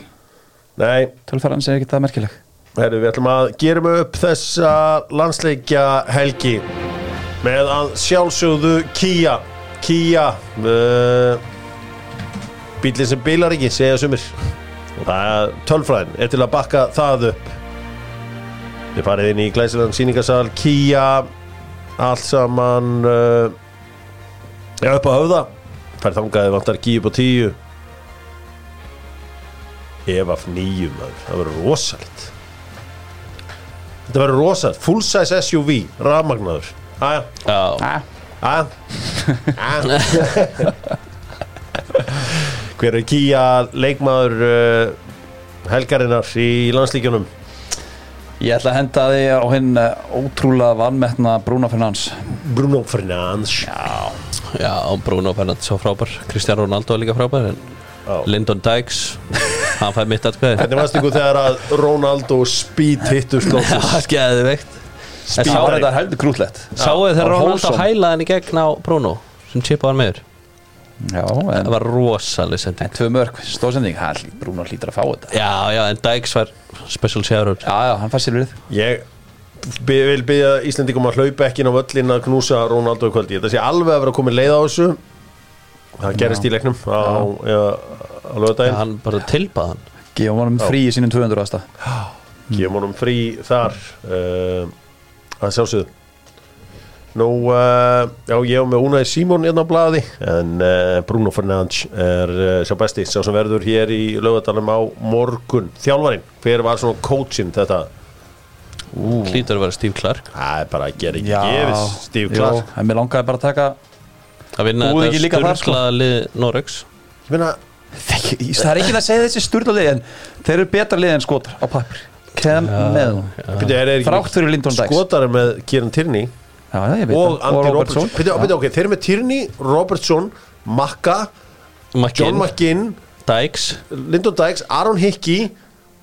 Speaker 1: Nei,
Speaker 3: Tölfæran sem er ekkert það merkileg
Speaker 1: Herru, við ætlum að gerum upp þessa landsleikja helgi með að sjálfsögðu Kia Kia uh, bílinn sem bílar ekki, segja sumir og það er tölfræðin, er til að bakka það upp Þið farið inn í glæsilegan síningasal Kia allt saman uh, já, upp á höfða fær þangaði vantar Kia upp á tíu ef af nýjum maður, það verður rosalegt Þetta verður rosalegt, full size SUV rafmagnaður, aðja
Speaker 4: já,
Speaker 1: Ah. Ah. Hver er Kía leikmaður uh, helgarinnar í landslíkjunum?
Speaker 3: Ég ætla að henda því á hinn eh, ótrúlega vannmettna Brúna Fernands
Speaker 1: Bruno Fernandes
Speaker 4: Já, og Bruno Fernandes svo frábær Kristján Ronaldo er líka frábær en
Speaker 1: Já.
Speaker 4: Lyndon Dykes hann fæði mitt atkvæði
Speaker 1: Þetta varst ykkur þegar að Ronaldo speed hittust
Speaker 4: Já,
Speaker 1: loksins
Speaker 4: skeðið veikt En
Speaker 2: Það
Speaker 4: sáu-
Speaker 2: var þetta heldur grútlegt
Speaker 4: Sáuðu þegar
Speaker 2: Og
Speaker 4: Ronaldo
Speaker 2: wholesome.
Speaker 4: hælaði hann í gegn á Bruno sem chipa hann meður
Speaker 3: Já, en,
Speaker 4: Það var rosaleg sending
Speaker 3: en tvö mörg stóðsending, hann hlý- Bruno hlýtur að fá þetta
Speaker 4: Já, já, en Dykes var special shoutout
Speaker 3: Já, já, hann fær silfrið
Speaker 1: Ég bi- vil byggja Íslendingum að hlaupa ekki inn á völlin að knúsa Ronaldo í kvöldi Þetta sé alveg að vera komin leið á þessu Það gerist í leiknum á, ja, á lögudaginn
Speaker 4: Hann bara tilbað hann
Speaker 3: Geðum honum frí í sínum 200 aðsta
Speaker 1: gefum
Speaker 3: Mm.
Speaker 1: honum frí þar uh, að sjálfsögðu Nú, uh, já, ég hef með Unai Simon hérna á blaði en uh, Bruno Fernandes er uh, sá besti, sá sem verður hér í lögadalum á morgun. Þjálfarinn, hver var svona coachinn þetta?
Speaker 4: Hlýtur að vera Steve Clark
Speaker 1: Það er bara að gera ekki gefið, Steve
Speaker 3: jú,
Speaker 1: Clark.
Speaker 3: En mér langaði bara að taka
Speaker 4: að vinna
Speaker 3: Búið ekki líka
Speaker 4: þetta
Speaker 3: þar, sko?
Speaker 4: sturglaða lið Norex
Speaker 1: Ég meina,
Speaker 3: Þegi- Það er ekki að segja þessi styrla liðin Þeir eru betra liðin skotar á pappir Kem með hún
Speaker 1: byrja, er, er
Speaker 3: Þrátt fyrir Lyndon Dykes.
Speaker 1: Skotar er með Kieran Tierney
Speaker 3: Já, já, ég veit
Speaker 1: og
Speaker 3: það.
Speaker 1: Andy
Speaker 3: Robertson.
Speaker 1: Robertson. Byrja, byrja, ok, þeir eru með Tierney, Robertson, Makka, John
Speaker 4: McGinn,
Speaker 1: McGinn,
Speaker 4: Dykes
Speaker 1: Lyndon Dykes, Aaron Hickey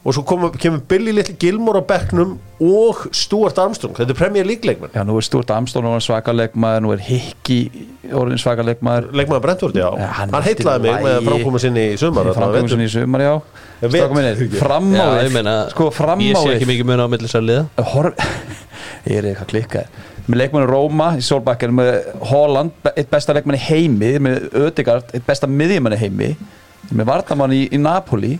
Speaker 1: og svo kom, kemur Billy Little Gilmore á bekknum og Stuart Armstrong þetta er Premier League leikmann
Speaker 3: Já, nú er Stúrt Amstón orðin svakalegmaður, nú er Hikki orðin svakalegmaður
Speaker 1: leikmann Brentford, já,
Speaker 3: Ja,
Speaker 1: hann,
Speaker 3: Eh, hann
Speaker 1: hann
Speaker 3: er allt
Speaker 1: heitlaði
Speaker 3: í
Speaker 1: mig með
Speaker 3: lagi.
Speaker 1: framkomu sinni í sumar þarna á
Speaker 3: framgangum
Speaker 1: vetur.
Speaker 3: sinni í sumar, já
Speaker 1: Ég veit.
Speaker 3: Strákum minni, fram á
Speaker 4: Já, ég
Speaker 3: við
Speaker 4: meina,
Speaker 3: Sko, fram á
Speaker 4: ég sé ekki
Speaker 3: við
Speaker 4: mikið mun á millis að liða
Speaker 3: Horf Ég er eitthvað klikkað Með leikmanni Róma í Solbakken með Holland, be- eitt besta leikmanni heimi með Ödegard, eitt besta miðjumanni heimi með Vardamann í, í Napoli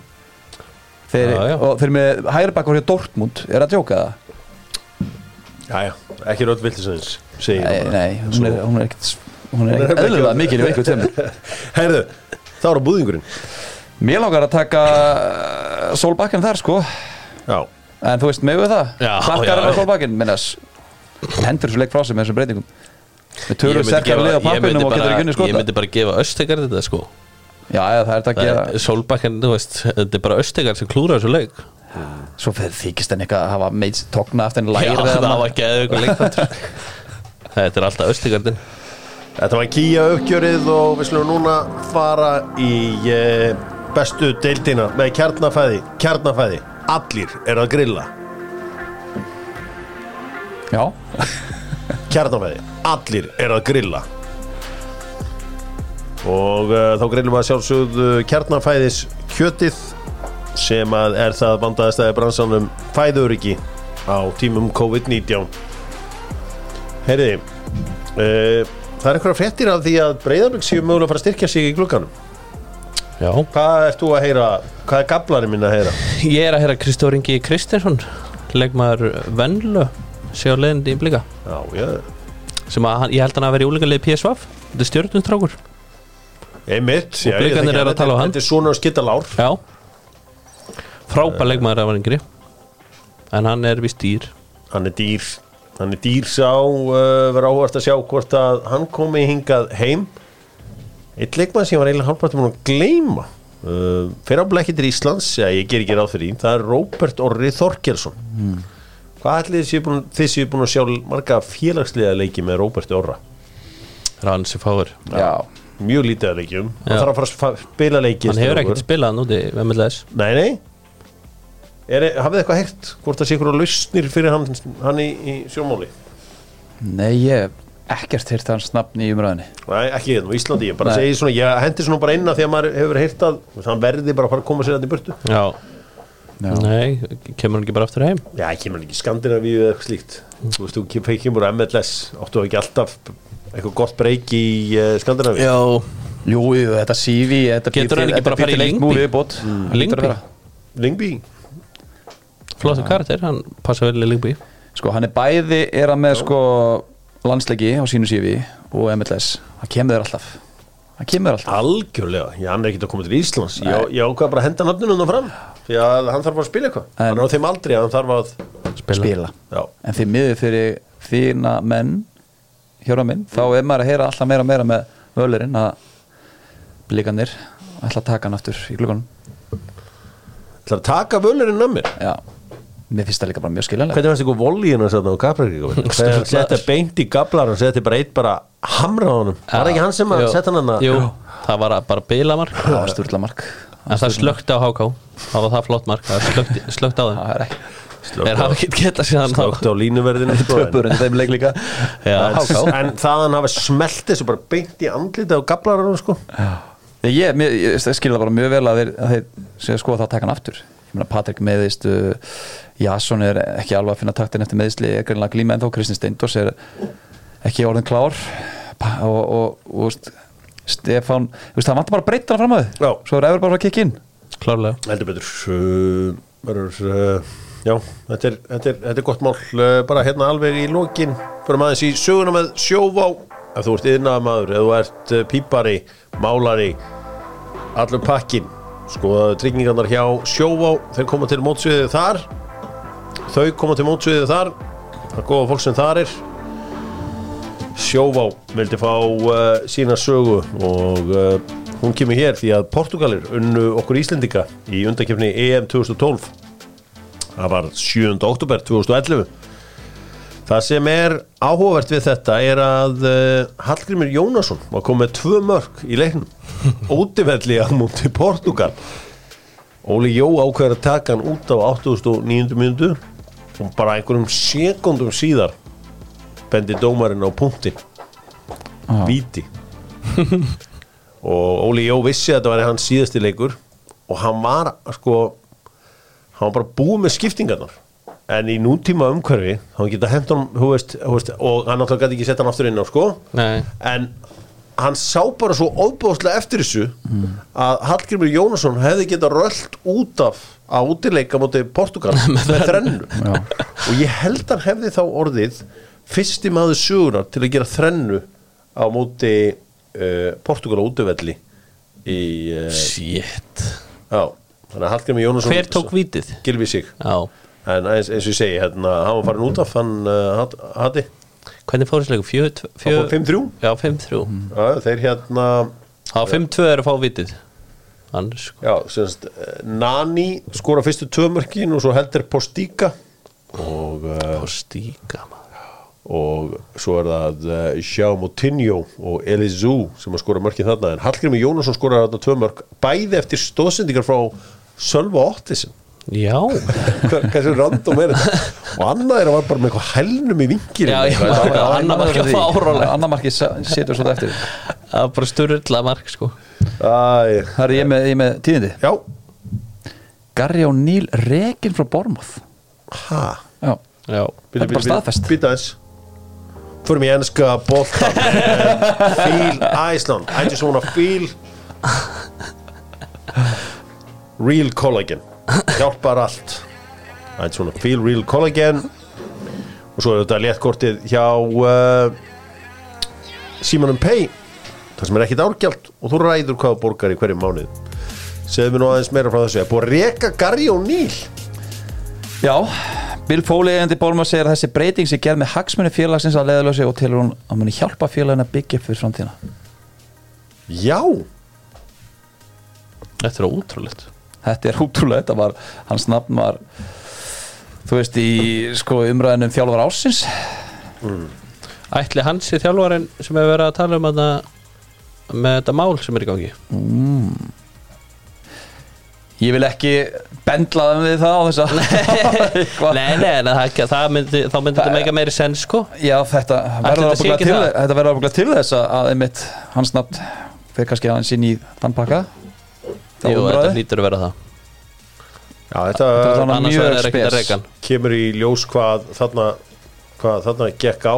Speaker 3: þeir,
Speaker 4: Já, já.
Speaker 3: og þeir með hægri bakkur hjá Dortmund er að djóka það?
Speaker 1: já, já, ekki rödd viltisins segi
Speaker 3: Nei,
Speaker 1: ég bara.
Speaker 3: nei, hún er, hún er ekkert hún er
Speaker 1: Hún er
Speaker 3: ekkert
Speaker 1: ekki-
Speaker 3: eðlulega mikil í veiku tveimur
Speaker 1: heyrðu, þá eru búðingurinn
Speaker 3: Mér langar að taka uh, Solbakken þar sko
Speaker 1: já,
Speaker 3: En þú veist, megum við það?
Speaker 4: Já, já,
Speaker 3: Klarkar er
Speaker 4: já.
Speaker 3: með Solbakken, minnas Hendur svo leik frá sig með þessum breytingum Við
Speaker 4: Ég
Speaker 3: tölum
Speaker 4: myndi
Speaker 3: sterkar
Speaker 4: gefa-
Speaker 3: lið á
Speaker 4: ég myndi
Speaker 3: pappinum og getur ekki
Speaker 4: bara-
Speaker 3: sko. unni
Speaker 4: Ég
Speaker 3: skota
Speaker 4: myndi bara gefa Östegar þetta sko
Speaker 3: Já, já, það er þetta að
Speaker 4: yeah.
Speaker 3: gera
Speaker 4: Solbakkan, þú veist, þetta er bara Östegar sem klúra þessu leik
Speaker 3: Svo fyrir þykist henni eitthvað að hafa meitt tókna eftir henni
Speaker 4: Já,
Speaker 3: lægir
Speaker 4: það var ekki eða ykkur leikfættur Þetta er alltaf Östegardin
Speaker 1: þetta var kýja uppgjörið og við slumum núna fara í eh, bestu deildina með kjarnafæði kjarnafæði, allir er að grilla
Speaker 3: Já,
Speaker 1: kjarnafæði, allir er að grilla og uh, þá grillum við að sjálfsögðu kjarnafæðis kjötið sem að er það bandaðastæði bransanum fæðuriki á tímum COVID-19 Heyriði uh, það er einhverja fréttir af því að Breiðarbygg séu mögulega að fara að styrkja sig í glugganum
Speaker 4: Já
Speaker 1: hvað ert þú að heyra, hvað er gablarinn minna að heyra
Speaker 4: Ég er að heyra Kristór Ingi Kristinsson Legmaður Venlu Sé á leiðindi í blika
Speaker 1: já, já,
Speaker 4: Sem að hann, ég held hann að vera í úlingalegi PSVaf Þetta er stjórnustrákur
Speaker 1: einmitt já, ég
Speaker 4: Blikarnir
Speaker 1: þekki
Speaker 4: eru að
Speaker 1: hann.
Speaker 4: tala á hann.
Speaker 1: þetta er svona skittalár
Speaker 4: Já Frábær legmaður að var yngri En hann er vist dýr
Speaker 1: hann er dýr hann er dýr sá uh, verður áhvert að sjá hvort að hann komi hingað heim eitt leikmann sem ég var eiginlega hálfbært um að gleyma uh, fyrir á blekkið til Íslands já, ég ger ekki ráð fyrir því, það er Róbert Orri Þorkelsson
Speaker 4: Hmm.
Speaker 1: hvað ætli þið séu búin, þið séu búin að sjá marga félagslega leiki með Róbert Orra
Speaker 4: Rann sem fáir
Speaker 3: já
Speaker 1: mjög lítið að leikjum,
Speaker 4: Já.
Speaker 1: hann þarf að fara að spa- spila leiki
Speaker 4: Hann hefur
Speaker 1: strákur.
Speaker 4: ekkert spilað núti MLS
Speaker 1: nei, nei er, hafið þið eitthvað heyrt hvort það sé ykkur lausnir fyrir hann, hann í, í sjómáli
Speaker 3: Nei, ég hef ekkert hýrt hans nafn í umræðinni
Speaker 1: Nei, ekki hérna á Íslandi, ég bara
Speaker 3: Nei.
Speaker 1: segi svona, ég hendi svona bara inn að því að maður hefur heyrt að hann verði bara að fara að koma sér þetta í burtu.
Speaker 4: Já
Speaker 3: Já.
Speaker 4: Nei, kemur hann ekki bara aftur heim
Speaker 1: Já, ég kemur hann ekki í Skandinavíu eða eitthvað slíkt. Þú veist, þú kem- kemur á MLS, áttu ekki alltaf eitthvað gott breyk í uh, Skandinavíu.
Speaker 4: Já
Speaker 3: Jú, jú, þetta CV, þetta
Speaker 4: Getur hann ekki bara farið í Lyngby? Mm. Lyngby?
Speaker 3: Lingby?
Speaker 1: Lingby,
Speaker 4: Flóta karakter, hann passa vel í Lingby
Speaker 3: Sko, hann er bæði, er hann með sko landsleiki á sínu sífi og MLS, hann kemur þér alltaf hann kemur þér alltaf
Speaker 1: algjörlega, já, hann er ekki að koma til Íslands. Ég, ég ákvað bara að henda nafninu hann fram, því að hann þarf að spila eitthvað.
Speaker 3: En-
Speaker 1: Hann er á þeim aldrei að hann þarf að,
Speaker 4: Spila.
Speaker 3: spila,
Speaker 1: já,
Speaker 3: en því miður fyrir þína menn hjóra minn, þá er maður að heyra alltaf meira og meira með völerinn að blíkanir ætla að taka hann aftur í glukkanum
Speaker 1: ætlar að taka völurinn að mér.
Speaker 3: já, mér finnst það líka bara mjög skiljanlega
Speaker 1: Hvernig varst ykkur volíinu að setja á Kaprikíku? Setta beint í gablar og setja bara eitt bara hamra á honum Var ekki hann sem að
Speaker 4: Jú,
Speaker 1: setja hann hann að
Speaker 4: Jú, það var bara bilamark
Speaker 3: það var styrlamark
Speaker 4: En það slökti á HK Það var það flott mark, það slökti, slökti á þeim
Speaker 3: það er ekki
Speaker 4: Þeir hafa ekki getað síðan þá
Speaker 1: Slögt á línuverðinu sko, en-
Speaker 3: töpur en þeim leik líka
Speaker 4: Já,
Speaker 1: en, en þaðan hafa smelt þessu bara beint í andlita og gablar hann sko
Speaker 3: Nei, ég, mér, ég skil það bara mjög vel að þeir, að þeir séu sko að það taka hann aftur ég meina Patrik meðist uh, Jason er ekki alveg að finna taktin eftir meðisli er greinlega að glíma en þá Kristinn Steindors er ekki orðin klár Pa- og, og, og, veist, Stefán, þú veist, það vantar bara að breyta hann fram að
Speaker 1: Já.
Speaker 3: þau svo er Evra bara að kikka inn
Speaker 4: klárlega
Speaker 1: heldur betur uh, verður, uh, já, þetta er, þetta, er, þetta er gott mál uh, bara hérna alveg í lokin fyrir aðeins í söguna með sjóvá ef þú ert yðnaða maður, ef þú ert uh, pípari málari allur pakkin, skoðaðu tryggingarnar hjá sjóvá, þeir koma til mótsviðið þar þau koma til mótsviðið þar það er góða fólk sem þar er Sjóvá vildi fá uh, sína sögu og uh, hún kemur hér því að Portugalir unnu okkur Íslendinga í undakefni EM 2012 það var 7. oktober 2011 það sem er áhugavert við þetta er að uh, Hallgrimur Jónasson var komið með tvö mörg í leiknum ótifelli á múti Portugal Óli Jó ákveður að taka hann út á 89. minútu og bara einhverjum sekundum síðar bendi dómarinn á punktin víti og Óli Jó vissi að þetta var hans síðasti leikur og hann var sko hann var bara búið með skiptingarnar en í nútíma umhverfi hann geta hent hann þú veist, þú veist, og hann náttúrulega gæti ekki sett hann aftur inn á sko
Speaker 4: Nei.
Speaker 1: en hann sá bara svo óbúðslega eftir þessu að Hallgrimur Jónasson hefði geta rölt út af að útileika móti Portugal með þrennu og ég held hann hefði þá orðið fyrsti maður sögunar til að gera þrennu á móti uh, Portugal á útivelli í uh,
Speaker 4: Shit
Speaker 1: já, þannig að Hallgrimur Jónasson
Speaker 4: Hver tók vítið?
Speaker 1: Gylfi sig
Speaker 4: Já
Speaker 1: en eins, eins og ég segi, hérna, hann var farin út af hann uh, hat- hati
Speaker 4: Hvernig fór þessi leikur? Fjö, tvö-
Speaker 1: Það fór
Speaker 4: fjö-
Speaker 1: 5-3.
Speaker 4: Já, 5-3
Speaker 1: Já, þeir hérna
Speaker 4: Það var 5-2 er að fá vitið Annars sko
Speaker 1: já, semst, eh, Nani skora fyrstu tömörkin og svo heldur Postíka og, eh,
Speaker 4: Og stíka maður
Speaker 1: og svo er það eh, Sjá Moutinho og Elizú sem að skora mörkin þarna en Hallgrimur Jónasson skora þarna tömörk bæði eftir stóðsendingar frá Sölva Óttisinn
Speaker 4: Já
Speaker 1: Hver- hversu random er þetta og annað er að var bara með eitthvað hælnum í vingir
Speaker 4: Já, ég var að annar markið að fá árólega
Speaker 3: annamarki setur svo eftir
Speaker 4: Það var bara sturla mark sko
Speaker 1: já,
Speaker 3: það er ég með, ég með tíðindi Garri og Níl Rekin frá Bormoth
Speaker 1: hæ
Speaker 3: já,
Speaker 4: Já
Speaker 3: Þetta er bara staðfest.
Speaker 1: Býta eins Förum í ennska boltan Feel Iceland I just wanna feel Real collagen Hjálpar allt I just wanna feel real collagen Og svo er þetta léttkortið hjá uh, Simonum Pay Það sem er ekkit árgjald Og þú ræður hvað þú borgar í hverjum mánuð Segðu mér nú aðeins meira frá þessu Það er búið að reka Garri og Níl
Speaker 3: Já, Bill Foley eigandi Bólmar segir að þessi breyting sé gerð með hagsmunni félagsins að leiðalösi og telur hún að muni hjálpa félagin að byggja upp fyrir framtíðina
Speaker 1: Já
Speaker 4: Þetta er ótrúlegt
Speaker 3: Þetta er útrúlega, þetta var, hans nafn var þú veist í sko, umræðinum þjálfar ársins
Speaker 4: Ætli hans í þjálfarinn sem hefur verið að tala um þetta með þetta mál sem er í gangi
Speaker 3: Ég vil ekki bendla þeim við það á þess að Eitthvað.
Speaker 4: Nei, nei, nei það er ekki, það myndi, þá myndi þetta meika meiri sens sko
Speaker 3: Já, þetta verður
Speaker 4: þetta sé
Speaker 3: ábyggilega
Speaker 4: ekki
Speaker 3: til,
Speaker 4: það?
Speaker 3: þetta verður ábyggilega til þess að- að einmitt hans nafn fyrir kannski aðeins inn í þann pakka þá
Speaker 4: Jú, þetta
Speaker 3: umræði
Speaker 4: hlýtur að vera það
Speaker 1: Já, þetta
Speaker 3: var þannig
Speaker 4: Annars
Speaker 3: mjög
Speaker 4: verður þetta ekki
Speaker 3: spes.
Speaker 4: að regan
Speaker 1: kemur í ljós hvað þarna, hvað þarna gekk á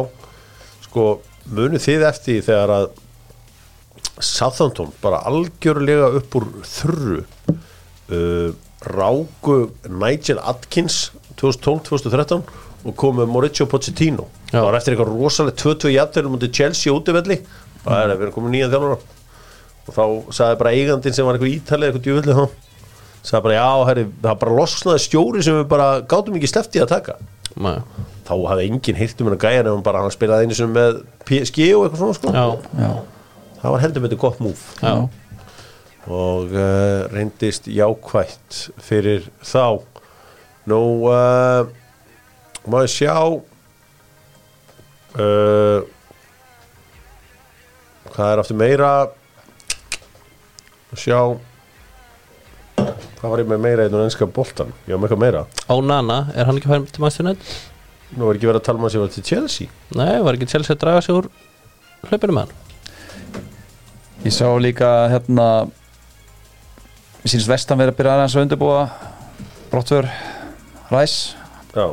Speaker 1: sko munið þið eftir því þegar að Southampton bara algjörlega upp úr þurru uh, ráku Nigel Atkins 2012-2013 og komu Mauricio Pochettino
Speaker 4: Já.
Speaker 1: það var eftir eitthvað rosalegt 22 jafnvel mútið Chelsea útivelli það er að vera komið nýja þjálfara og þá sagði bara eigandinn sem var eitthvað ítalið eitthvað djúvillig þá sagði bara já, herri, það bara losnaði stjóri sem við bara gátum ekki sleftið að taka
Speaker 4: Nei.
Speaker 1: þá hafði enginn heyrt um hennar gæjan ef hann bara hann spilaði einu sem með PSG og eitthvað svona sko.
Speaker 4: Já,
Speaker 1: það var heldur betur gott eh, múf
Speaker 4: já,
Speaker 1: og uh, reyndist jákvætt fyrir þá Nú uh, Má ég sjá uh, Hvað er aftur meira Má Sjá Hvað var ég með meira einu ennska boltan? Ég var með eitthvað meira
Speaker 4: Ónana, er hann ekki færum til Manchester United?
Speaker 1: Nú er ekki verið að tala um að sé var til Chelsea
Speaker 4: Nei, var ekki Chelsea að draga sig úr hlaupinu með hann?
Speaker 3: Ég sá líka hérna Mér sínst vestan verið að byrja aðeins að undirbúa Brottvör Ræs
Speaker 1: Já,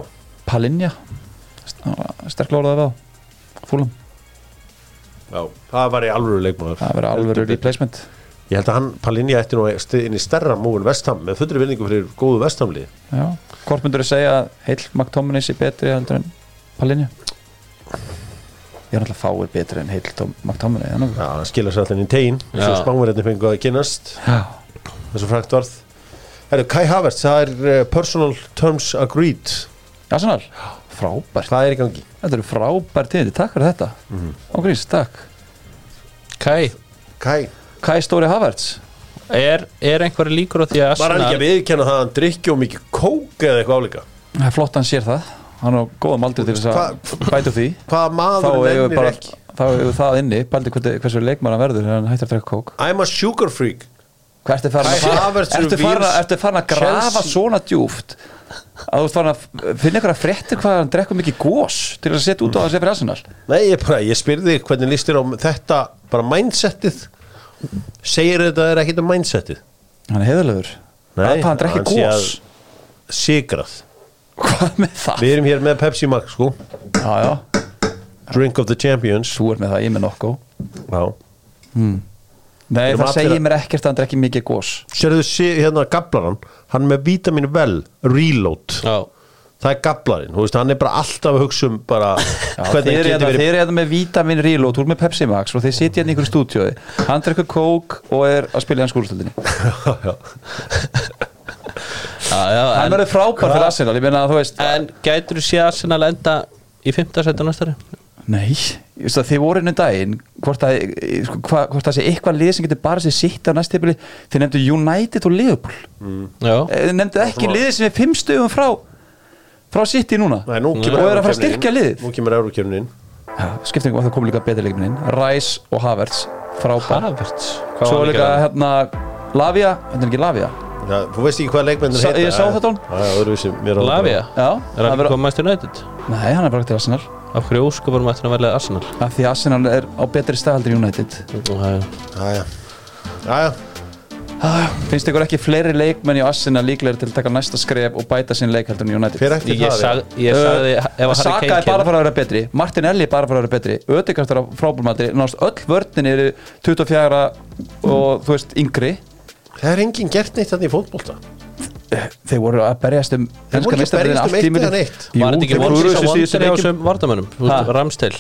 Speaker 3: Palinja Sterklega orðaði við á Fúlum
Speaker 1: já Það var í alvöru leikmaður
Speaker 3: Það verið alveg replacement
Speaker 1: Ég held að hann, Palinja, ætti nú að styð inn í stærra múin vestam með fullri vinningu fyrir góðu vestamlið
Speaker 3: Já Hvort myndur þú segja að Heil McTominay sé betri heldur en Palinja Ég er náttúrulega fáir betri en Heil Tom- McTominay þannig að-
Speaker 1: Já, hann skilur sér allir inn í tegin eins og
Speaker 4: Já.
Speaker 1: spangverðinni fengu að kynast
Speaker 3: Já
Speaker 1: eins og frækt varð Herru, Kai Havertz, það er eh, personal terms agreed
Speaker 3: Arsenal Frábært Mhm.
Speaker 1: Hvað er í gangi?
Speaker 3: Þetta eru frábært tíðindi Takk fyrir þetta Ángríns, takk
Speaker 4: Kai,
Speaker 1: Kai
Speaker 3: Kai Stóri Havertz
Speaker 4: er, er einhver líkur á því að
Speaker 1: Var hann ekki að
Speaker 4: Arsenal
Speaker 1: viðkenna það að hann drikki og mikið kók eða eitthvað álíka?
Speaker 3: Það er flott að hann sér það Hann er á góðum aldrei til þess að bæta úr því
Speaker 1: Hvaða
Speaker 3: Þá
Speaker 1: maður
Speaker 3: hefur
Speaker 1: nefnir
Speaker 3: bara
Speaker 1: ekki?
Speaker 3: Þá hefur það inni Bældi hvernig- hversu leikmann hann verður Þegar hann hættir að drekka kók
Speaker 1: I'm a sugar freak
Speaker 3: Hvað ertu farin
Speaker 1: Kai
Speaker 3: að fara
Speaker 1: Havertz
Speaker 3: Ertu farin að,
Speaker 1: reveals
Speaker 3: ertu farin að grafa
Speaker 1: Chelsea.
Speaker 3: svona djúft Að þú ert farin að finna ykkur að frétti Hvað hann drekkur mikið gós Til að setja út á þessi fyrir Arsenal
Speaker 1: Nei, ég bara, ég spyrði þig hvernig líst þér á þetta bara mindsetið segir þetta er ekkit um mindsetið
Speaker 3: Hann er heiðalögur
Speaker 1: Nei,
Speaker 3: Hvað hann drekki
Speaker 1: hann sé
Speaker 3: gós
Speaker 1: að- sigrað
Speaker 3: Hvað með það
Speaker 1: Við erum hér með Pepsi Max, sko
Speaker 3: Já, já
Speaker 1: Drink of the Champions
Speaker 3: Þú er með það Ég er með nokko
Speaker 1: Já
Speaker 3: Nei,
Speaker 1: Erum
Speaker 3: það
Speaker 1: allir
Speaker 3: segir
Speaker 1: að-
Speaker 3: mér ekkert að hann drekki mikið gós
Speaker 1: Sérðu sé- hérna gablaran Hann er með vítamin vel, reload
Speaker 4: Já,
Speaker 1: Það er gablarinn, þú veist, hann er bara alltaf að hugsa um bara
Speaker 3: Þeir
Speaker 1: hvernig hann getur
Speaker 3: eru hérna- þeir
Speaker 1: verið
Speaker 3: eru hérna með Vitamin Reload Úr með Pepsi Max og þeir sitja hérna í ykkur stúdíói Hann drekkur kók og er að spila í hans skúrstöldinni
Speaker 4: já, já
Speaker 3: Hann
Speaker 4: en,
Speaker 3: verður frábær fyrir Arsenal, ég meina að þú veist
Speaker 4: en gætur þú séð Arsenal enda í 5. setja næstari?
Speaker 3: Nei, ég veist að þið voru einu daginn Hvort að, sko, hva, hvort að sé eitthvað lið sem getur bara sér sitt á næstibili Þið nefndu United og Liverpool
Speaker 4: Já,
Speaker 3: Eh, Þið nefndu ekki lið sem er fimm stöðum frá Frá sitt í núna
Speaker 1: Nei, nú kemur
Speaker 3: Og er að fara
Speaker 1: Evrópukeppnin
Speaker 3: að styrkja
Speaker 1: inn.
Speaker 3: liðið.
Speaker 1: Nú kemur Eurókjöfnin
Speaker 3: Skiptingum að það kom líka betri leikminin Rice og Havertz, frábær
Speaker 4: Havertz Hvað
Speaker 3: Svo
Speaker 4: var
Speaker 3: er líka
Speaker 4: hann ekki að-
Speaker 3: hérna Lavia, hérna er ekki Lavia
Speaker 1: Já, Þú veist ekki hvað leikmennir
Speaker 3: Sa-
Speaker 1: heita
Speaker 3: ég sá þetta á hann.
Speaker 1: Já, já, öðruvísi, mér á þetta.
Speaker 4: Lavia
Speaker 3: Já,
Speaker 4: Er hann
Speaker 3: það
Speaker 4: ekki
Speaker 3: vera-
Speaker 4: komið mæstur nættið?
Speaker 3: Nei, hann er bara ekki til Arsenal
Speaker 4: Af hverju óskuparum ættir að verða Arsenal?
Speaker 3: Af því að Arsenal er á betri staðaldur United
Speaker 4: Já, já
Speaker 1: Já, já Já, já
Speaker 3: Finnst ykkur ekki fleiri leikmenn í Arsenal líklegir til að taka næsta skref og bæta sinn leikhaldur en United?
Speaker 1: Hver eftir
Speaker 4: Ég,
Speaker 1: það
Speaker 4: sag, ég
Speaker 3: Ö,
Speaker 4: sagði ef að Harry
Speaker 3: Saka er
Speaker 4: Kane
Speaker 3: bara að
Speaker 4: kemur
Speaker 3: fara að vera betri Martinelli er bara að fara að vera betri Ödegard er frábólmatri Nást öll vörnin eru 24 og þú veist yngri
Speaker 1: Það er enginn gert neitt þannig í fótbolta
Speaker 3: Eh, Þeir voru að berjast um
Speaker 1: voru ekki að
Speaker 3: meistaradeildina
Speaker 1: berjast um
Speaker 3: allt
Speaker 1: eitt
Speaker 3: tímabilið.
Speaker 1: eða neitt.
Speaker 3: Jú,
Speaker 4: Var þetta ekki
Speaker 3: þeir
Speaker 4: vondur
Speaker 3: klúðruðu
Speaker 4: sem
Speaker 3: þessu í síðustu
Speaker 4: vondur á
Speaker 3: leikjum.
Speaker 4: sem vartamönnum?
Speaker 3: Ha?
Speaker 4: Ramstil,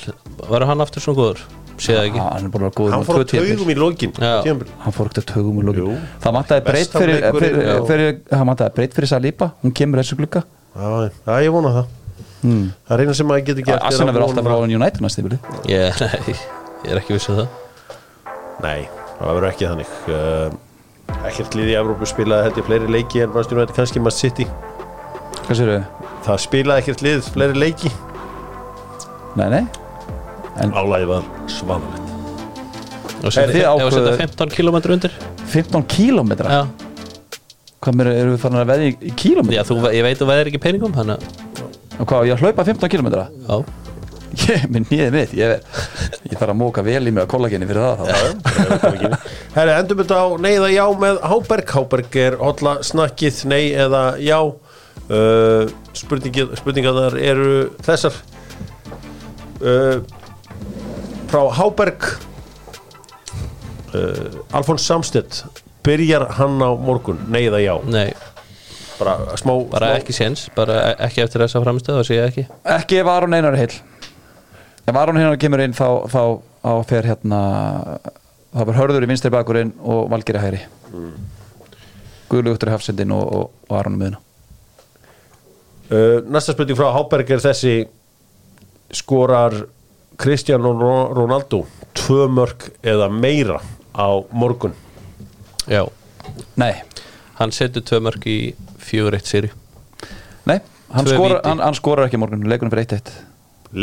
Speaker 4: var hann aftur svona góður? Séð
Speaker 3: Já,
Speaker 4: ekki
Speaker 3: Hann er búin að vera góður
Speaker 1: Hann
Speaker 3: með hérna.
Speaker 1: fór
Speaker 3: tvö
Speaker 1: á
Speaker 3: tímabil.
Speaker 1: taugum í lokin
Speaker 4: Já.
Speaker 1: tímabili.
Speaker 3: hann fór ekkert að tögum og
Speaker 1: Jú.
Speaker 3: lókin það vantaði breytt
Speaker 1: Besta
Speaker 3: fyrir, fyrir,
Speaker 1: leikurinn, já.
Speaker 3: fyrir það vantaði breytt fyrir Saliba hún kemur þessu glugga
Speaker 1: Já, já, já, ég vona það
Speaker 3: mm.
Speaker 1: Það er eina sem maður getur gert er að
Speaker 3: Arsenal verður alltaf
Speaker 1: vona-
Speaker 3: frá en United næst yfir
Speaker 4: Ég, nei, ég er ekki vissið það
Speaker 1: Nei, það verður ekki þannig uh, Ekkert liði í Evrópu spilaði held ég fleiri leiki en Manchester United kannski maður City
Speaker 3: hvað sér þau?
Speaker 1: Það spilaði ekkert lið fleiri leiki
Speaker 3: Nei, nei
Speaker 1: Álæði var svaðalegt
Speaker 4: Og setja-
Speaker 3: þið
Speaker 4: Ef að
Speaker 3: ákveðið-
Speaker 4: setja 15 km undir
Speaker 3: 15 kílómetra
Speaker 4: Já,
Speaker 3: hvað mér erum við farin að veðja í kílómetra
Speaker 4: já þú, ég veit þú veðir ekki peningum Þannig að,
Speaker 3: og hvað, á ég að hlaupa 15 kílómetra
Speaker 4: já
Speaker 3: ég minn nýðið mitt ég, er- ég þarf að móka vel í mig að kollagenni fyrir það þá.
Speaker 1: Herri, endum þetta á neyða já með Háberg Háberg er hotla snakkið nei eða já uh, spurningið- Spurningarnar eru þessar uh, Frá Háberg uh, Alfons Samstedt Byrjar hann á morgun Nei eða já
Speaker 4: Nei,
Speaker 1: Bara smá,
Speaker 4: bara
Speaker 1: smá
Speaker 4: ekki séns Bara e- ekki eftir þessa framstöð Það sé ég ekki
Speaker 3: ekki ef Aron Einar er heil ef Aron Einar kemur inn þá, þá, þá fer hérna þá verður hörður í vinstri bakurinn og valgeri hægri mm. Guðlugtur í hafsendin og, og, og Aron um miðuna
Speaker 1: Uh, næsta spurning frá Háberg er þessi skorar Cristiano Ro- Ronaldo tvö mörg eða meira á morgun
Speaker 4: Já,
Speaker 3: nei,
Speaker 4: hann setur tvö mörg í fjögur eitt sýri
Speaker 3: nei, hann,
Speaker 4: Tvö
Speaker 3: skora,
Speaker 4: víti.
Speaker 3: hann, hann skorar ekki í morgun, leikunum fyrir 1-1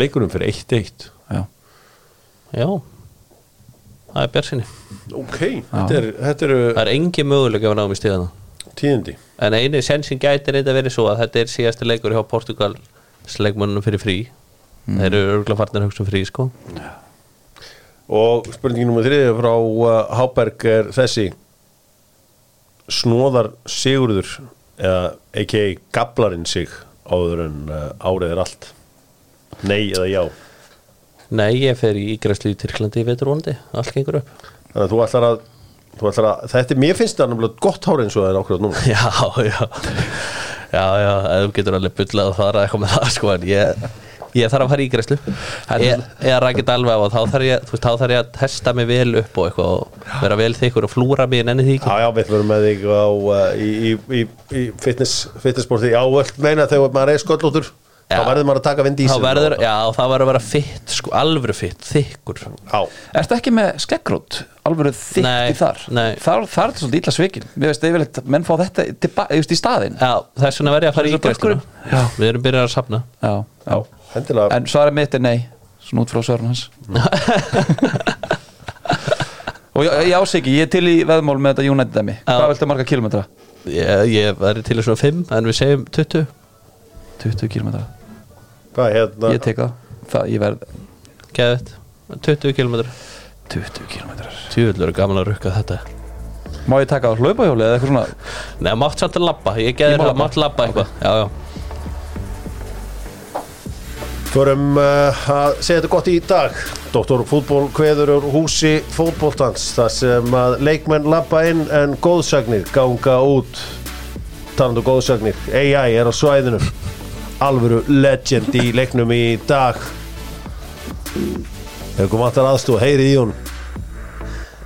Speaker 1: leikunum fyrir 1-1
Speaker 3: Já.
Speaker 4: Já Það er bjarsinni
Speaker 1: ok, þetta er, þetta er
Speaker 4: Það er engin möguleik ef við náum í stíðana
Speaker 1: tíðindi
Speaker 4: En einu sensin gæti reynda verið svo að þetta er síðasti leikur hjá Portugal sleikmönnum fyrir frí Þeir eru örgulega farnir að hugsa um frí sko
Speaker 1: og spurningin nummer þriðja frá uh, Háberg er þessi snóðar Sigurður eða a.k.a. gablarinn sig áður en uh, árið er allt nei eða já
Speaker 4: Nei, ég fer í ígræslu í Tyrklandi í veturvonandi Allt gengur upp
Speaker 1: þannig að þú ætlar að, þú ætlar að þetta er, mér finnst það náttúrulega gott hár eins og það er okkur núna
Speaker 4: Já, já Já, já, eða þú getur alveg bullað að fara eitthvað með það sko En ég, ég þarf að fara í ígræslu Eða rækit alveg á þá þarf ég Þú veist, þá þarf ég að testa mig vel upp og eitthvað og vera vel þykkur og flúra mig en enni því ekki
Speaker 1: Já, já, við verum með þig á, uh, í, í, í, í fitness, fitnessborti á öll meina þegar maður er sköllóttur þá
Speaker 4: Já.
Speaker 1: verður maður að taka vind í
Speaker 4: Þá
Speaker 1: sig
Speaker 4: verður, já, þá verður að vera fitt sko, alvöru fitt, þykkur
Speaker 1: Já,
Speaker 3: Ertu ekki með skeggrót alveg þitt
Speaker 4: Nei,
Speaker 3: í þar?
Speaker 4: nei.
Speaker 3: Þar, þar er þetta svolítið illa svikin Mér veist, yfirleitt, menn fá þetta tilba, just í staðinn
Speaker 4: Já, þess vegna verð ég að fara í
Speaker 3: Þessar
Speaker 4: ígræsluna
Speaker 3: bökkurinn. Já.
Speaker 4: Við erum byrjað að safna
Speaker 3: já, já.
Speaker 1: hendilega
Speaker 3: En svarið mitt er nei Svona út frá svörun hans Og ég, ég ás ekki, ég er til í veðmál með þetta United dæmi Hvað viltu marga kilometra?
Speaker 4: Ég, ég verði til í svona 5 en við segjum 20
Speaker 3: 20 kilometra
Speaker 1: Hvað, hérna,
Speaker 3: Ég tek það, það ég verð
Speaker 4: Geðvett 20 km
Speaker 3: 20 kilometrar
Speaker 4: Tjúvöldur er gaman að rukka þetta
Speaker 3: Má ég taka á hlaupahjóli eða eitthvað svona
Speaker 4: Nei, mátt samt að labba Ég
Speaker 3: Ég
Speaker 4: geði
Speaker 3: má
Speaker 4: það,
Speaker 3: labba.
Speaker 4: mátt labba eitthvað Já, já
Speaker 1: Förum uh, að segja þetta gott í dag Dr. Fútból kveður úr húsi fótboltans þar sem að leikmenn labba inn en góðsagnir ganga út talandu um góðsagnir AI er á svæðinu alvöru legend í leiknum í dag Ef kom vantar aðstóð, heyrið í hún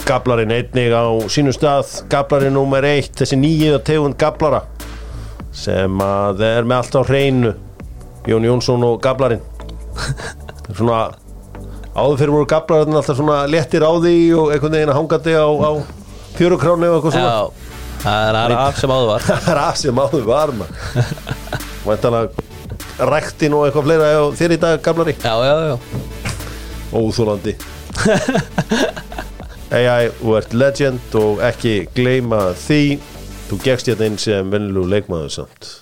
Speaker 1: Gablarinn einnig á sínum stað Gablarinn númer eitt, þessi nýju tegund gablara sem að er með allt á hreinu Jón Jónsson og gablarinn svona áður fyrir voru gablarinn alltaf svona léttir á því og einhvern veginn hangandi á, á fjörukráni og eitthvað svona
Speaker 4: Já, það er af sem áður var
Speaker 1: það er af sem áður var maður væntanlega ræktin og eitthvað fleira hjá þér í dag gablari
Speaker 4: Já, já, já
Speaker 1: óþúlandi AI, þú ert legend og ekki gleyma því þú gegst hérna inn sem vennilú leikmaður samt